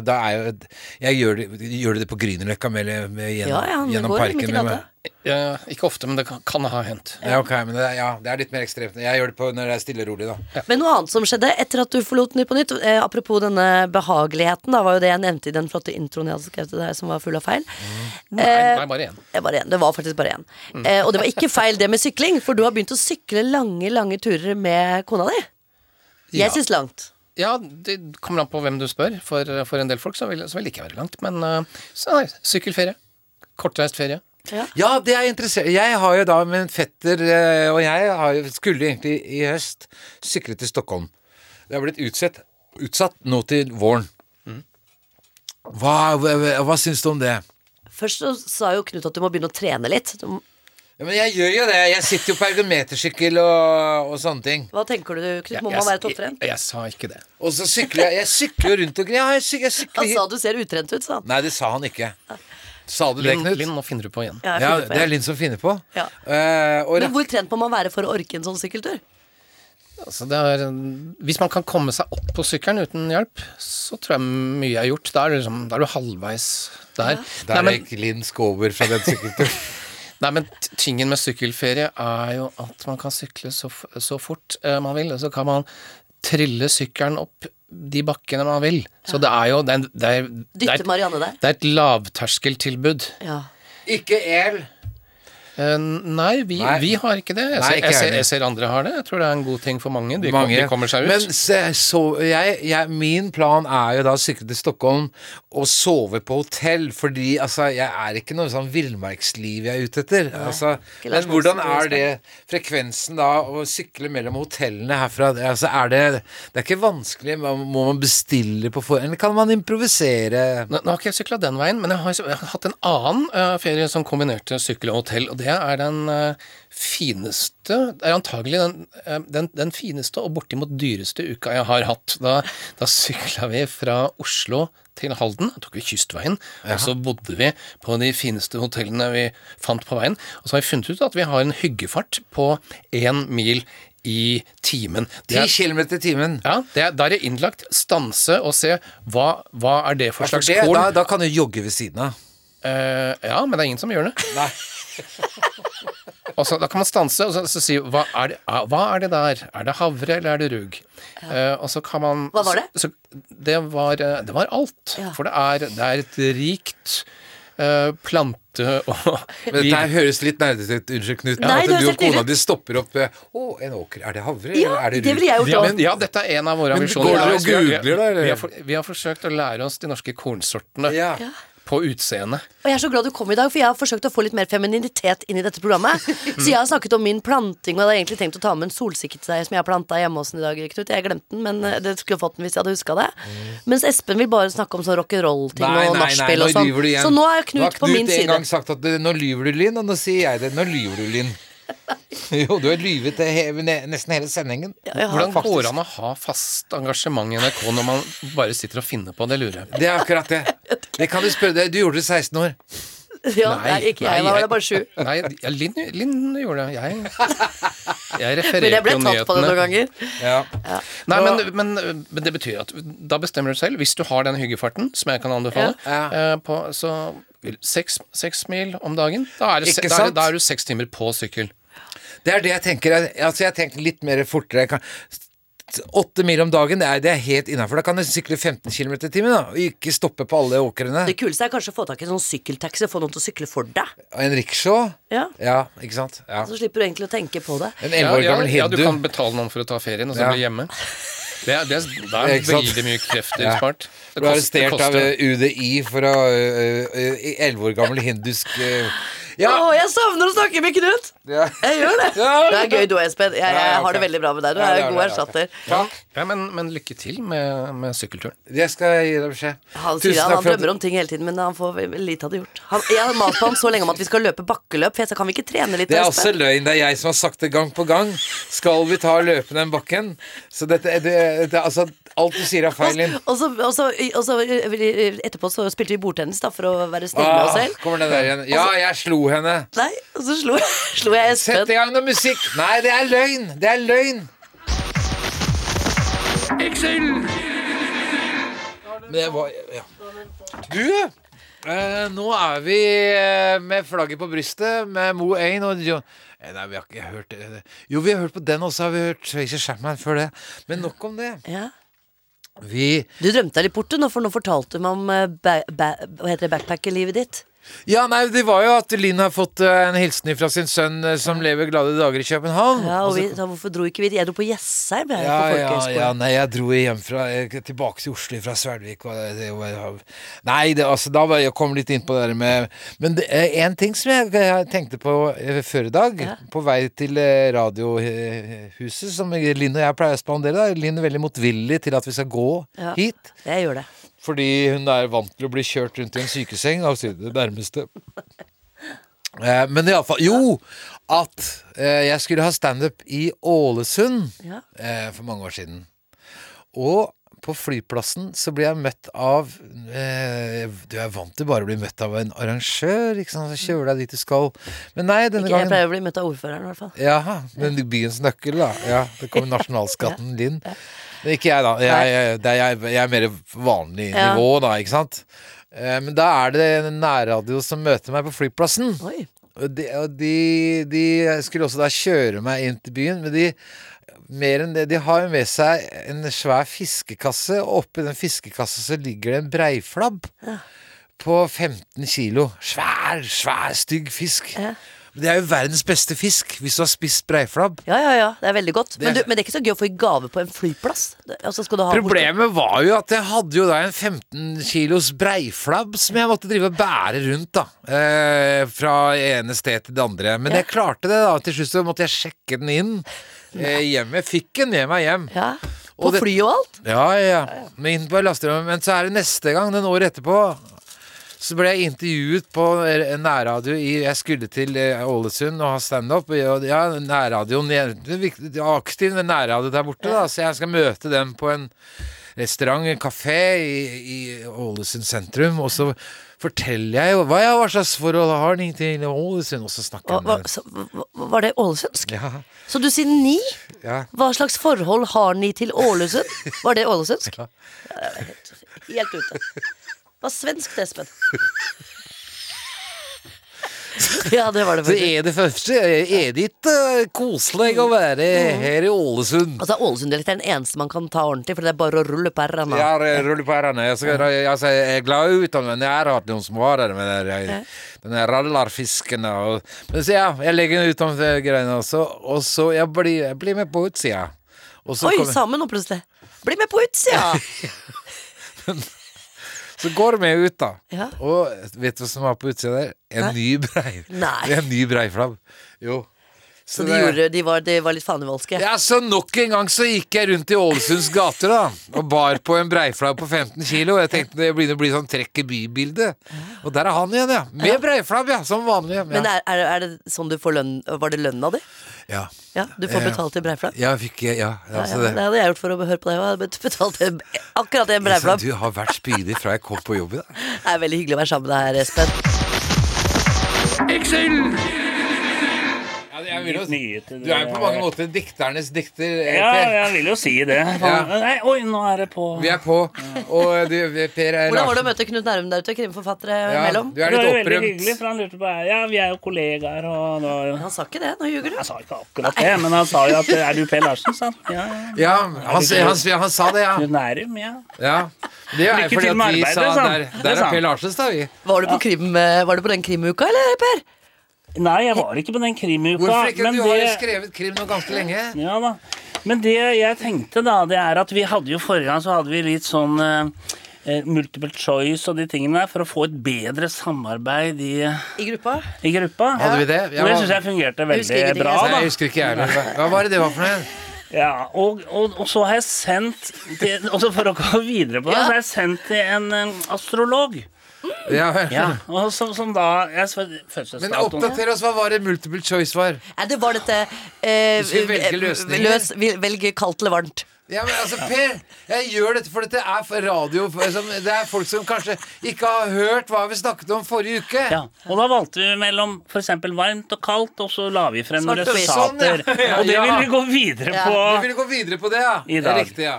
C: da er jo Jeg gjør det, gjør det på Grünerløkka med, med, gjennom,
B: Ja, ja, han
C: gjennom
B: går liksom
C: parken.
B: midt i
C: med-
B: gata.
E: Eh, ikke ofte, men det kan, kan ha hendt.
C: Ja, ok, men det, er- ja, det er litt mer ekstremt. Jeg gjør det på når det er stille og rolig, da.
B: Men noe annet som skjedde etter at du forlot Nytt på Nytt, eh, apropos denne behageligheten, da var jo det jeg nevnte i den flotte introen jeg hadde skrevet til deg som var full av feil.
E: Nei, nei bare én.
B: Eh, Bare en, det var faktisk bare én. Eh, og det var ikke feil det med sykling, for du har begynt å sykle lange, lange turer med kona di.
E: Ja.
B: Jeg syns langt.
E: Ja, det kommer an på hvem du spør. For, for en del folk så vil, så vil det ikke være langt. Men eh, så, nei, sykkelferie. Kortreist ferie.
C: Ja, det er interessert Jeg har jo da med en fetter eh, og jeg har, jo- skulle egentlig i høst sykle til Stockholm. Det har blitt utsatt, utsatt nå til våren. Hva, hva, hva syns du om det?
B: Først så sa jo Knut at du må begynne å trene litt. Du-
C: Ja, men jeg gjør jo det. Jeg sitter jo på ergometersykkel og, og sånne ting.
B: Hva tenker du, Knut? Må
E: Jeg-
B: man være
E: jeg-
B: topptrent?
E: Jeg, jeg sa ikke det.
C: Og så sykler jeg Jeg sykler jo rundt omkring. Ja, jeg syk- jeg sykler
B: Han sa du ser utrent ut, sa han.
C: Nei, det sa han ikke. Sa du det,
E: Linn,
C: Knut?
E: Linn, nå finner du på igjen.
B: Ja, jeg
C: Ja,
B: finner på
C: det er
B: en.
C: Linn som finner på.
B: Ja.
C: Eh, og
B: Men hvor trent må man være for å orke en sånn sykkeltur?
E: Altså, det er, en- hvis man kan komme seg opp på sykkelen uten hjelp, så tror jeg mye er gjort. Da er, det liksom, da er du halvveis der.
C: der
E: Nei, men-
C: gikk Linn Skåber fra den sykkelturen.
E: Nei, men t- tingen med sykkelferie er jo at man kan sykle så, f- så fort eh, man vil, og så kan man trille sykkelen opp de bakkene man vil. Så det er jo det er, det er, det er,
B: Dytte Marianne der?
E: det er et lavterskeltilbud.
B: Ja.
C: ikke el.
E: Eh, nei, vi,
C: Nei.
E: vi har ikke det. Jeg,
C: Nei,
E: ser,
C: ikke
E: jeg,
C: jeg
E: ser,
C: heller.
E: jeg ser andre har det. Jeg tror det er en god ting for mange. De, kom- de kommer seg ut.
C: Men se, så, jeg, jeg, min plan er jo da å sykle til Stockholm og sove på hotell, fordi altså, jeg er ikke noe sånn villmarksliv jeg er ute etter. altså,
B: ikke Lars
C: men hvordan
B: Monsen,
C: er det frekvensen da å sykle mellom hotellene herfra? Altså, er det, det er ikke vanskelig, man- må man bestille på forhånd, eller kan man improvisere?
E: Nå, nå har ikke jeg sykla den veien, men jeg har, jeg har hatt en annen eh, ferie som kombinerte sykkel og hotell, og det er den eh, fineste Det er antagelig den, eh, den, den fineste og bortimot dyreste uka jeg har hatt. Da, da sykla vi fra Oslo til Halden, da tok vi kystveien, og så bodde vi på de fineste hotellene vi fant på veien, og så har vi funnet ut at vi har en hyggefart på én mil i timen.
C: Ti
E: Det er-
C: kilometer i timen.
E: ja, det er, Da er det innlagt stanse og se hva, hva er det for
C: Ja, for
E: slags
C: det,
E: korn.
C: da, da kan du jogge ved siden av.
E: Eh, ja, men det er ingen som gjør det.
C: Nei.
E: Og så, da kan man stanse og så, så si hva er, det, ah, hva er det der? Er det havre eller er det rug? Eh, og så kan man
B: Hva var det?
E: Så, det, var, eh, det var alt.
B: Ja.
E: For det er, det er et rikt eh, plante- og
C: Men dette her høres litt nerdete ut. Unnskyld, Knut.
B: Nei, det
C: at du
B: høres
C: og
B: helt
C: kona
B: nydelig.
C: di stopper opp eh, Å, en åker. Er det havre?
B: Ja,
C: eller er det,
B: det ville jeg gjort
E: Ja,
B: òg.
E: men, ja, dette er en av våre
C: Men
E: ambisjoner. altså,
C: går dere og
E: Vi har- vi har-
C: googler da, eller?
E: Vi, har for- vi har forsøkt å lære oss de norske kornsortene
C: Ja.
E: på utseendet.
B: Og jeg er så glad du kom i dag, for jeg har forsøkt å få litt mer femininitet inn i dette programmet. Så jeg har snakket om min planting, og jeg hadde egentlig tenkt å ta med en solsikke til deg som jeg har planta hjemme hos den i dag, Knut. Jeg glemte den, men eh, det skulle jeg fått den hvis jeg hadde huska det. Mens Espen vil bare snakke om sånn rock'n'roll-ting
C: Mm. Nei,
B: og
C: nei, nei,
B: nachspiel
C: nå
B: og sånn.
C: lyver du igjen.
B: Så nå er
C: Nå har
B: Knut på min
C: Knut en
B: side.
C: gang sagt at eh, nå lyver du, Linn, og nå sier jeg det. Nå lyver du, Linn. Jo, du har lyvet det he ne nesten hele sendingen.
E: Hvordan går det an å ha fast engasjement i NRK når man bare sitter og finner på det, lurer jeg på.
C: Det er akkurat det. Det kan du spørre deg. Du gjorde det i 16 år.
B: Ja, nei, ikke jeg, da var det
E: jeg-
B: bare sju.
E: Nei, ja, Linn, Linn gjorde det. Jeg, jeg
B: Men
E: refererte
B: jeg ble
E: jo
B: tatt på det
E: nyhetene.
B: noen ganger.
C: Ja.
E: Nei, men, men, men det betyr at da bestemmer du selv. Hvis du har den hyggefarten, som jeg kan anbefale,
C: Ja.
E: eh, på, så vil- seks, seks mil om dagen, da er, det, se-
C: Ikke
E: da, er,
C: sant?
E: det- da er du seks timer på sykkel.
C: Det er det jeg tenker. jeg- Altså, jeg tenker litt mer fortere. Jeg kan, åtte mil om dagen, det er, det er helt innafor. Da kan du sykle 15 km i timen da, og ikke stoppe på alle åkrene.
B: Det kuleste er kanskje å få tak i en sånn sykkeltaxi og få noen til å sykle for deg.
C: Og en rickshaw.
B: Ja.
C: Ja, ikke sant. Ja.
B: Så slipper du egentlig å tenke på det.
C: En elleve år
E: ja,
C: gammel
E: ja, du
C: hindu.
E: kan betale noen for å ta ferien, og så
C: Ja.
E: bli hjemme. Det er, det er, da er
C: Ikke sant?
E: veldig mye krefter
C: Ja.
E: spart. Det
C: Du er
E: kost- det
C: arrestert av
E: koster.
C: eh, UDI for å eh, Elleve år gammel hindusk eh,
B: Å,
C: Ja!
B: jeg savner å snakke med Knut!
C: ja.
B: Jeg gjør det.
C: Ja.
B: Det er gøy du, Espen. Jeg,
C: Ja, ja,
B: jeg har det
C: ok.
B: veldig bra med deg. Du
C: Ja,
B: er
C: det er
B: en god
C: det, ja, ok.
B: erstatter.
E: Ja, men, men lykke til med, med sykkelturen.
C: Det skal jeg gi deg beskjed.
B: Han, sier, han, han
C: for at-
B: drømmer om ting hele tiden, men han får vel lite av det gjort. Han, jeg har mast på han så lenge om at vi skal løpe bakkeløp, for jeg sa kan vi ikke trene litt?
C: Det er også
B: Espen?
C: løgn. Det er jeg som har sagt det gang på gang. Skal vi ta løpende den bakken? Så dette det, det, Altså, alt du sier er feil, Linn.
B: Og så, og, så, og så etterpå så spilte vi bordtennis, da, for å være snille med
C: Ah,
B: oss selv.
C: kommer den der igjen. Ja, jeg slo henne.
B: Nei, og så slo, slo jeg
C: Sett
B: Espen.
C: i gang noe musikk. Nei, det er løgn. Det er løgn. Men jeg var ja. Du, eh, nå er vi eh, med flagget på brystet med Mo Ain og jo, eh, Nei, vi har ikke hørt eh, Jo, vi har hørt på den også, har vi hørt Tracy Chapman før det. Men nok om det.
B: Ja.
C: Vi
B: Du drømte deg litt bort, du, nå, for nå fortalte du meg om eh, ba, ba, hva heter det, backpackerlivet ditt.
C: Ja, nei, det var jo at Linn har fått eh, en hilsen fra sin sønn eh, som lever glade dager i København.
B: Ja, og
C: Og så-
B: vi, da, hvorfor dro ikke vi dit? Jeg dro på Jessheim, jeg,
C: altså- Ja,
B: på
C: ja, ja,
B: folkehøyskolen.
C: nei, jeg dro hjem fra jeg, tilbake til Oslo fra Svelvik. Og det, det, var- nei, det, altså, da var jeg kom litt inn på det der med Men det er én ting som jeg, jeg tenkte på eh, før i dag, på vei til eh, Radiohuset, som Linn og jeg pleier å spandere. da. Linn er veldig motvillig til at vi skal gå
B: Ja.
C: hit.
B: Jeg gjør det.
C: Fordi hun er vant til å bli kjørt rundt i en sykeseng av sitt nærmeste. Eh, Men iallfall Jo! At eh, jeg skulle ha standup i Ålesund
B: Ja.
C: eh, for mange år siden. Og på flyplassen så ble jeg møtt av eh, Du er vant til bare å bli møtt av en arrangør, ikke sant. Så kjører deg dit du skal. Men nei, denne
B: Ikke, jeg
C: gangen
B: pleier å bli møtt av ordføreren, i hvert fall.
C: Jaha, men byens nøkkel, da. Ja, det kommer nasjonalskatten din. Men ikke jeg, da. Jeg, jeg, det er, jeg, jeg er mer vanlig
B: Ja.
C: nivå, da, ikke sant. Eh, Men da er det en nærradio som møter meg på flyplassen.
B: Oi.
C: Og de, og de, de skulle også da kjøre meg inn til byen, men de mer enn det, De har jo med seg en svær fiskekasse, og oppi den fiskekassa så ligger det en breiflabb på 15 kilo. Svær, svær, stygg fisk. Men Det er jo verdens beste fisk hvis du har spist breiflabb.
B: Ja, ja, ja, det er veldig godt. Men, du,
C: Det er-
B: men det er ikke så gøy å få i gave på en flyplass. Det- Altså, skal du ha
C: Problemet var jo at jeg hadde jo da en 15 kilos breiflabb som jeg måtte drive og bære rundt, da. Eh, fra ene sted til det andre. Men jeg klarte det, da. Til slutt så måtte jeg sjekke den inn. Eh, hjemme. Fikk den med meg hjem.
B: Ja. På
C: Og det-
B: fly og alt?
C: Ja, ja, ja. Men inn på lasterommet. Men så er det neste gang, den året etterpå, så ble jeg intervjuet på eh, nærradio i Jeg skulle til eh, Ålesund og ha standup. og Ja, nærradioen jeg- det er viktig- det er Aktiv den nærradio der borte, da. Så jeg skal møte dem på en restaurant, en kafé i, i Ålesund sentrum. Og så forteller jeg jo hva jeg hva slags forhold har de til Ålesund, og så snakker
B: Hva,
C: jeg
B: hva,
C: med dem.
B: så, hva- var det ålesundsk?
C: Ja,
B: Så du sier ni?
C: ja.
B: Hva slags forhold har ni til Ålesund? Var det ålesundsk? Ja. det er Helt, helt ute. Det var svensk, det, Espen. Ja, det var det
C: Så
B: faktisk.
C: er det første Er det ikke eh, koselig å være her i Ålesund?
B: Altså, Ålesund-dialekt er den eneste man kan ta ordentlig, for det er bare å rulle på r-ene.
C: Jeg har eh, rulle på ærene. Jeg, skal, altså, jeg er glad ut om den nærheten som var der med den, der- den der rallarfisken. Og, men så ja, jeg legger den utenfor greiene også, og så jeg blir jeg blir med på utsida. Og så,
B: Oi,
C: kommer-
B: sammen nå plutselig. Bli med på utsida!
C: så går vi ut, da.
B: Ja.
C: Og vet du hva som var på utsida der? En ny brei.
B: Nei.
C: Det er En ny breiflabb. Jo.
B: Så de,
C: det-
B: gjorde, de, var, de var litt fanevoldske.
C: Ja, så Nok en gang så gikk jeg rundt i Ålesunds gater da og bar på en breiflabb på 15 kilo. Og jeg tenkte det begynner å bli sånn trekk i bybildet. Og der er han igjen, ja. Med breiflabb, ja. Som vanlig.
B: Men
C: Ja.
B: er, er, er det sånn du får lønn Var det lønna di?
C: ja.
B: Ja, du får
C: Ja.
B: betalt i breiflabb?
C: Ja, fikk jeg Ja.
B: Ja,
C: Altså,
B: ja, det
C: det.
B: hadde jeg gjort for å høre på deg. og Jeg hadde bet- betalt en- akkurat en
C: Altså,
B: breiflabb.
C: du har vært spydig fra jeg kom på jobb i dag.
B: Det er veldig hyggelig å være sammen med deg her, Espen.
F: Excel!
C: Ja, jeg vil jo,
F: Litt nye til
C: du er jo
F: det.
C: på mange måter dikternes dikter. eh,
F: Ja,
C: Per.
F: jeg vil jo si det. Faen. Nei, oi, nå er det på.
C: Vi er på. Og eh, du, Per er
B: Hvordan var det å møte Knut Nærum der ute, krimforfattere
C: Ja,
B: imellom?
C: Du er
F: det
C: litt
F: var jo veldig hyggelig,
C: opprømt.
F: for han lurte på Ja, vi er jo kollegaer, og det var jo
B: Han sa ikke det, nå ljuger du.
F: Han sa ikke akkurat det, men han sa jo at Er du Per Larsen, sa han. Ja, ja.
C: Ja, han, s- han, s- han sa det, ja.
F: Knut Nærum, ja.
C: ja. Det er
F: Lykke
C: fordi
F: til
C: at
F: med
C: vi
F: arbeidet,
C: sa
F: sa han.
C: Der,
F: Det
C: der
F: sa
C: er
F: han.
C: Per Larsen, da, vi.
B: Var du på, krim, eh, var du på den krimuka, eller, Per?
F: Nei, jeg var ikke på den krimuka.
C: Hvorfor ikke?
F: men
C: Du har jo
F: det-
C: skrevet krim nå ganske lenge.
F: Ja da. Men det jeg tenkte, da, det er at vi hadde jo forrige gang så hadde vi litt sånn eh, multiple choice og de tingene der for å få et bedre samarbeid i,
B: I gruppa?
F: i gruppa.
C: Hadde vi det? Jeg
F: og det
C: var-
F: syns jeg fungerte
B: Jeg husker
F: veldig
B: ingenting,
F: bra.
B: altså.
C: Nei,
F: da.
C: jeg husker ikke jeg men hva- Hva var det det var for noe?
F: Ja, og, og, og så har jeg sendt det, Også for å gå videre på det, så har jeg sendt til en, eh, astrolog.
C: Ja, vel.
F: Ja, og som, som da jeg, spør-
C: Men
F: Fødselsdatoen
C: oppdater oss, hva var det multiple choice var?
B: Nei, det var dette eh,
C: Du skulle velge løsninger.
B: Løs, vil- velge kaldt eller varmt.
C: Ja, men altså, Per, jeg gjør dette for dette er for radio for, som, Det er folk som kanskje ikke har hørt hva vi snakket om forrige uke.
F: Ja, og da valgte vi mellom for eksempel varmt og kaldt, og så la vi frem
B: Svart og hvitt.
F: resultater.
C: Sånn, ja.
F: Og det
C: Ja.
F: vil vi gå videre
B: Ja.
F: på.
C: Vi ville gå videre på det, ja.
F: I dag.
C: Riktig, ja.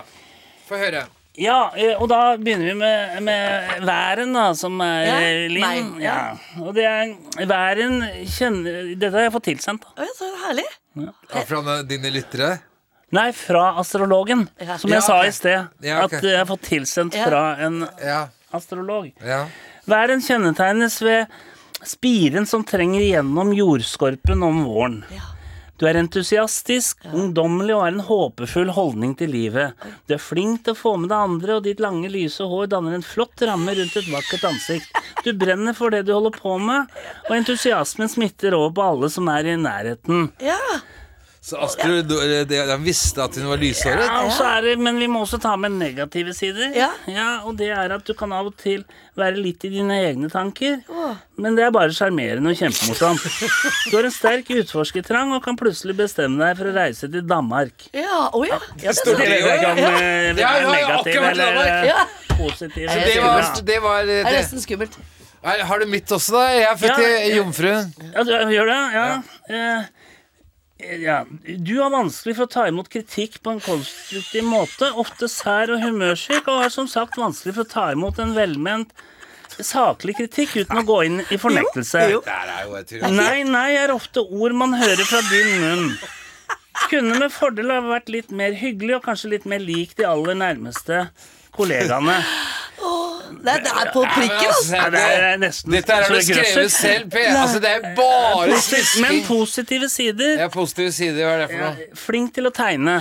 C: Få høre.
F: Ja, eh, og da begynner vi med, med væren, da, som er
B: Ja,
F: eh, Linn.
B: meg,
F: Ja. Og det er væren kjenner Dette har jeg fått tilsendt. da.
B: Å, ja, så herlig.
C: Ja, fra dine lyttere.
F: Nei, fra astrologen,
B: Ja.
F: som jeg
C: Ja,
F: sa
C: ok.
F: i sted.
C: Ja, ok.
F: At jeg har fått tilsendt
B: Ja.
F: fra en
C: Ja,
F: astrolog.
C: ja.
F: Væren kjennetegnes ved spiren som trenger igjennom jordskorpen om våren. Du er entusiastisk, ungdommelig og har en håpefull holdning til livet. Du er flink til å få med deg andre, og ditt lange, lyse hår danner en flott ramme rundt et vakkert ansikt. Du brenner for det du holder på med, og entusiasmen smitter over på alle som er i nærheten.
B: Ja.
C: Så Astrid du- eh, det- han visste at hun var lyshåret?
F: Ja, og så er det, men vi må også ta med negative sider.
B: Ja.
F: Og det er at du kan av og til være litt i dine egne tanker. Men det er bare sjarmerende og kjempemorsomt. Du har en sterk utforskertrang og kan plutselig bestemme deg for å reise til Danmark.
B: Ja, å ja. ja det er
C: står
F: Det
B: sant.
F: vet jeg ikke om eh, det
C: Ja, ja,
F: er
C: ja,
F: negativ
C: akkurat
F: eller
C: Danmark.
F: eh,
B: Ja.
F: positiv.
B: Så
C: Det var, det var eh,
B: Det er
C: det.
B: nesten skummelt.
C: Er- Har du mitt også, da? Jeg er født
F: Ja,
C: i Jomfruen.
F: Ja, du gjør det? Ja. Eh, ja. Du har vanskelig for å ta imot kritikk på en konstruktiv måte, ofte sær og humørsyk, og har som sagt vanskelig for å ta imot en velment saklig kritikk uten å gå inn i fornektelse.
C: Der er jo et tur.
F: Nei, nei er ofte ord man hører fra din munn. Kunne med fordel ha vært litt mer hyggelig og kanskje litt mer lik de aller nærmeste kollegaene.
B: Det er, det er på prikken, altså.
F: Nei, det er nesten
C: Dette er
F: så
C: det
F: det grøsser.
C: skrevet selv, Per. Altså, det er bare
F: Men
C: smisking.
F: positive sider.
C: Ja, positive sider, hva er det for noe?
F: Flink til å tegne.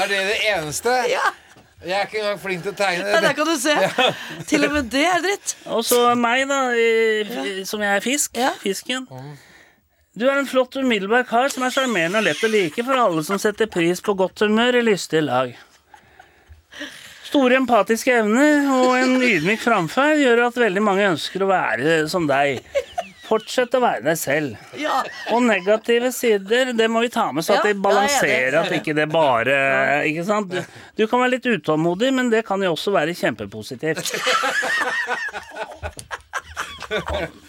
C: Er det det eneste?
B: Ja.
C: Jeg er ikke engang flink til å
B: Nei,
C: tegne.
B: der kan du se. Til og med det er dritt.
F: Og så meg, da, i- som jeg er fisk.
B: Ja.
F: Fisken. Du er en flott, umiddelbar kar som er sjarmerende og lett å like for alle som setter pris på godt humør i lystige lag. Store empatiske evner og en ydmyk framferd gjør at veldig mange ønsker å være som deg. Fortsett å være deg selv.
B: Ja.
F: Og negative sider, det må vi ta med, så at
B: Ja, ja,
F: det
B: jeg er
F: balanserer.
B: enig.
F: At ikke det bare Ikke sant? Du, du kan være litt utålmodig, men det kan jo også være kjempepositivt.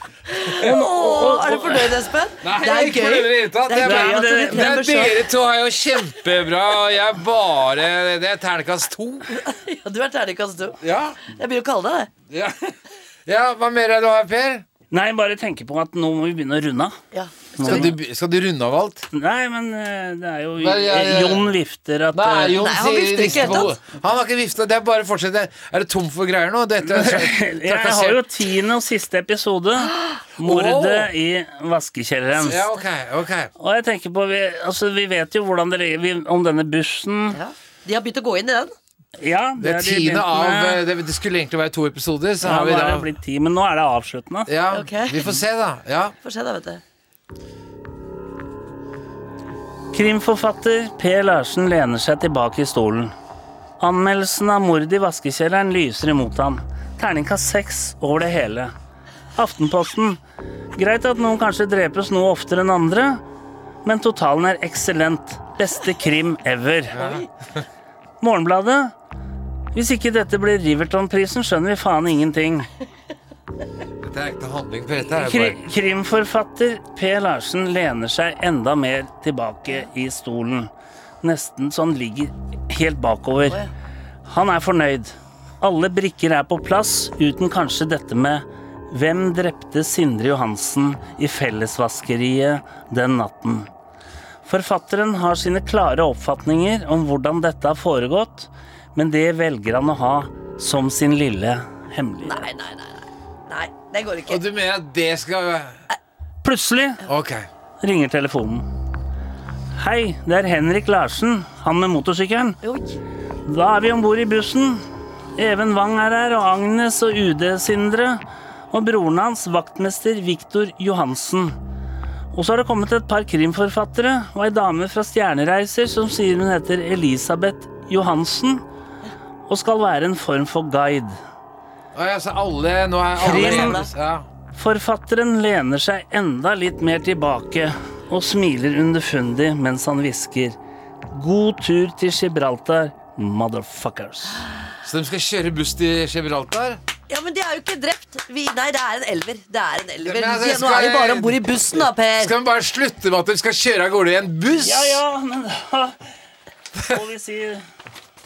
B: Å, er du fornøyd, Espen?
C: Nei,
B: det
C: jeg
B: er
C: er ikke fornøyd i
B: gøy.
C: det hele tatt.
B: Det er
C: Jeg
F: gøy
B: bra
C: bare-
F: at
B: at
F: det-
B: du
C: Men
B: klemmer sjøl.
C: dere to er jo kjempebra, og jeg bare Det er terningkast to.
B: Ja, du er terningkast to.
C: Ja.
B: Jeg begynner å kalle deg det.
C: ja. Ja, Hva mer er det du har, Per?
F: Nei, bare tenke på at nå må vi begynne å runde av.
B: Ja.
C: Skal du, skal du runde av alt?
F: Nei, men eh, det er jo
C: Nei, jeg-
F: eh,
C: jeg-
F: Jon vifter at eh,
C: Nei, Jon
B: Nei, han
C: sier-
B: vifter ikke
C: rister
B: helt
C: på
B: tatt.
C: hodet. Han har ikke vifta. Det er bare å fortsette. Er det tom for greier nå? Dette er
F: Jeg har jo tiende og siste episode. Mordet i vaskekjelleren.
C: Ja, ok, ok.
F: Og jeg tenker på Vi, altså, vi vet jo hvordan det ligger vi- om denne bussen.
B: Ja. De har begynt å gå inn i den.
F: Ja,
C: Det er
F: har de
C: tiende
F: begynt
C: av
F: med.
C: eh, Det det skulle egentlig være to episoder, så
F: Ja,
C: har
F: nå
C: vi
F: er det
C: da
F: blitt ti, men nå er det avsluttende.
C: Ja,
B: Ok.
C: vi får se, da. Ja.
B: Få se, da, vet du.
F: Krimforfatter Per Larsen lener seg tilbake i stolen. Anmeldelsen av mordet i vaskekjelleren lyser imot ham. Terningkast seks over det hele. Aftenposten. Greit at noen kanskje drepes noe oftere enn andre, men totalen er eksellent. Beste krim ever. Morgenbladet. Hvis ikke dette blir Riverton-prisen, skjønner vi faen ingenting.
C: dette er ekte handling. For dette er
F: Kri
C: bare
F: krimforfatter P. Larsen lener seg enda mer tilbake i stolen. Nesten så han ligger helt bakover. Han er fornøyd. Alle brikker er på plass, uten kanskje dette med Hvem drepte Sindre Johansen i fellesvaskeriet den natten? Forfatteren har sine klare oppfatninger om hvordan dette har foregått, men det velger han å ha som sin lille hemmelighet.
B: Nei, nei, nei. nei. nei det går ikke.
C: Og du mener at det skal
F: Plutselig
C: Ok.
F: ringer telefonen. Hei, det er Henrik Larsen, han med motorsykkelen.
B: Oi.
F: Da er vi om bord i bussen. Even Wang er her, og Agnes og UD-Sindre. Og broren hans, vaktmester Viktor Johansen. Og så har det kommet et par krimforfattere og ei dame fra Stjernereiser som sier hun heter Elisabeth Johansen og skal være en form for guide.
C: Å ja, så alle Nå er alle
F: Krim.
C: Ja.
F: Forfatteren lener seg enda litt mer tilbake og smiler underfundig mens han hvisker. God tur til Gibraltar, motherfuckers.
C: Så de skal kjøre buss til Gibraltar?
B: Ja, men de er jo ikke drept. Vi, nei, det er en elver. Det er en elver.
C: Men det
B: Ja, Nå
C: skal-
B: er vi bare om bord i bussen, da, Per.
C: Skal de bare slutte med at de skal kjøre av gårde i en buss?
F: Ja, ja, men da får vi si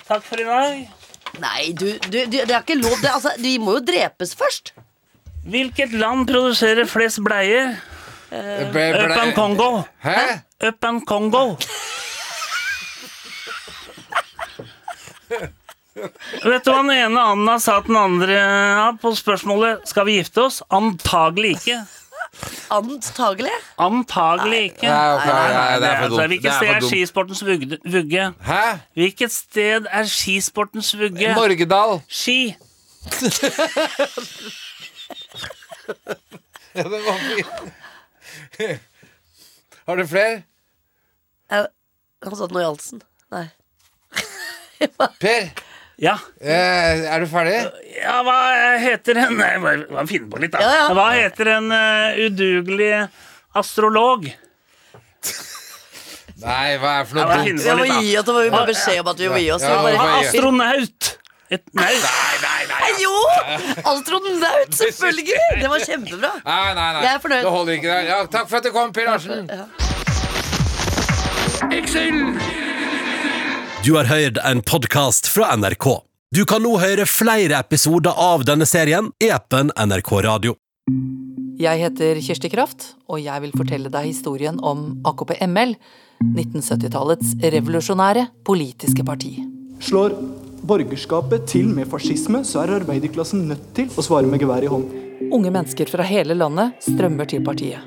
F: takk for i dag.
B: Nei, du, du, du, det er ikke lov. Det, altså, de må jo drepes først.
F: Hvilket land produserer flest bleier?
C: Ble-
F: Up
C: ble-
F: and Congo.
C: Hæ?
F: Up and Congo. Vet du hva den ene Anna sa til den andre ja, på spørsmålet 'Skal vi gifte oss?' Antagelig ikke.
B: Antagelig.
F: Antagelig ikke.
C: Nei, ok, nei, det er for
F: altså,
C: dumt. Det
F: Hvilket
C: er
F: sted
C: for
F: er
C: dumt.
F: skisportens vugge- vugge?
C: Hæ?
F: Hvilket sted er skisportens vugge?
C: Norgedal.
F: Ski.
C: Ja, det var fint. Har du flere?
B: Eh, Han satt nå i halsen. Nei.
C: Per,
F: Ja.
C: eh, er du ferdig?
F: ja, hva heter en Nei, bare bare finne på litt, da.
B: Ja, ja.
F: Hva heter en eh, udugelig astrolog?
C: Nei, hva er det for
F: Ja, hva
C: noe
F: er
C: dumt?
F: det?
B: Vi må gi oss, og vi må beskjed om at vi må gi oss. Vi
C: Ja,
B: bare,
C: hva-
F: Astronaut! Et naut.
B: Nei,
C: altså.
B: jo! Astronaut, selvfølgelig! Det var kjempebra.
C: Nei, nei, nei.
B: Jeg er fornøyd.
C: Det holder ikke der. Ja, takk for at du kom, Per Larsen.
G: Du har hørt en podkast fra NRK. Du kan nå høre flere episoder av denne serien i appen NRK Radio.
H: Jeg heter Kirsti Kraft, og jeg vil fortelle deg historien om AKP-ML, 1970-tallets revolusjonære politiske parti.
I: Slår borgerskapet til med fascisme, så er arbeiderklassen nødt til å svare med gevær i hånd.
H: Unge mennesker fra hele landet strømmer til partiet.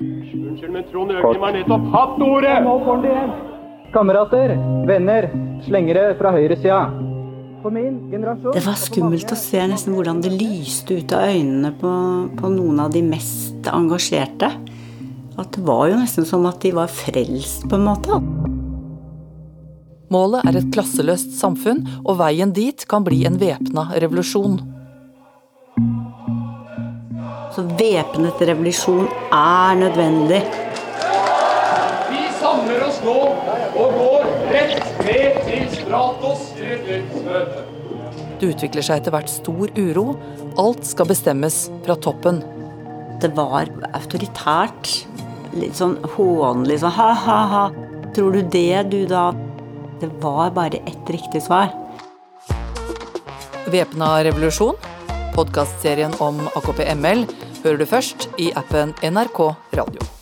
I: Kamerater, venner, slengere fra høyresida. For min generasjon
J: Det var skummelt å se nesten hvordan det lyste ut av øynene på, på noen av de mest engasjerte. At det var jo nesten som at de var frelst, på en måte.
H: Målet er et klasseløst samfunn, og veien dit kan bli en væpna revolusjon.
J: Så væpnet revolusjon er nødvendig.
K: Vi samler oss nå og går rett ned til Stratos rettmøte.
H: Det utvikler seg etter hvert stor uro. Alt skal bestemmes fra toppen.
J: Det var autoritært. Litt sånn hånlig sånn ha-ha-ha. Tror du det, du da? Det var bare ett riktig svar.
H: Væpna revolusjon, podkastserien om AKP-ML, hører du først i appen NRK Radio.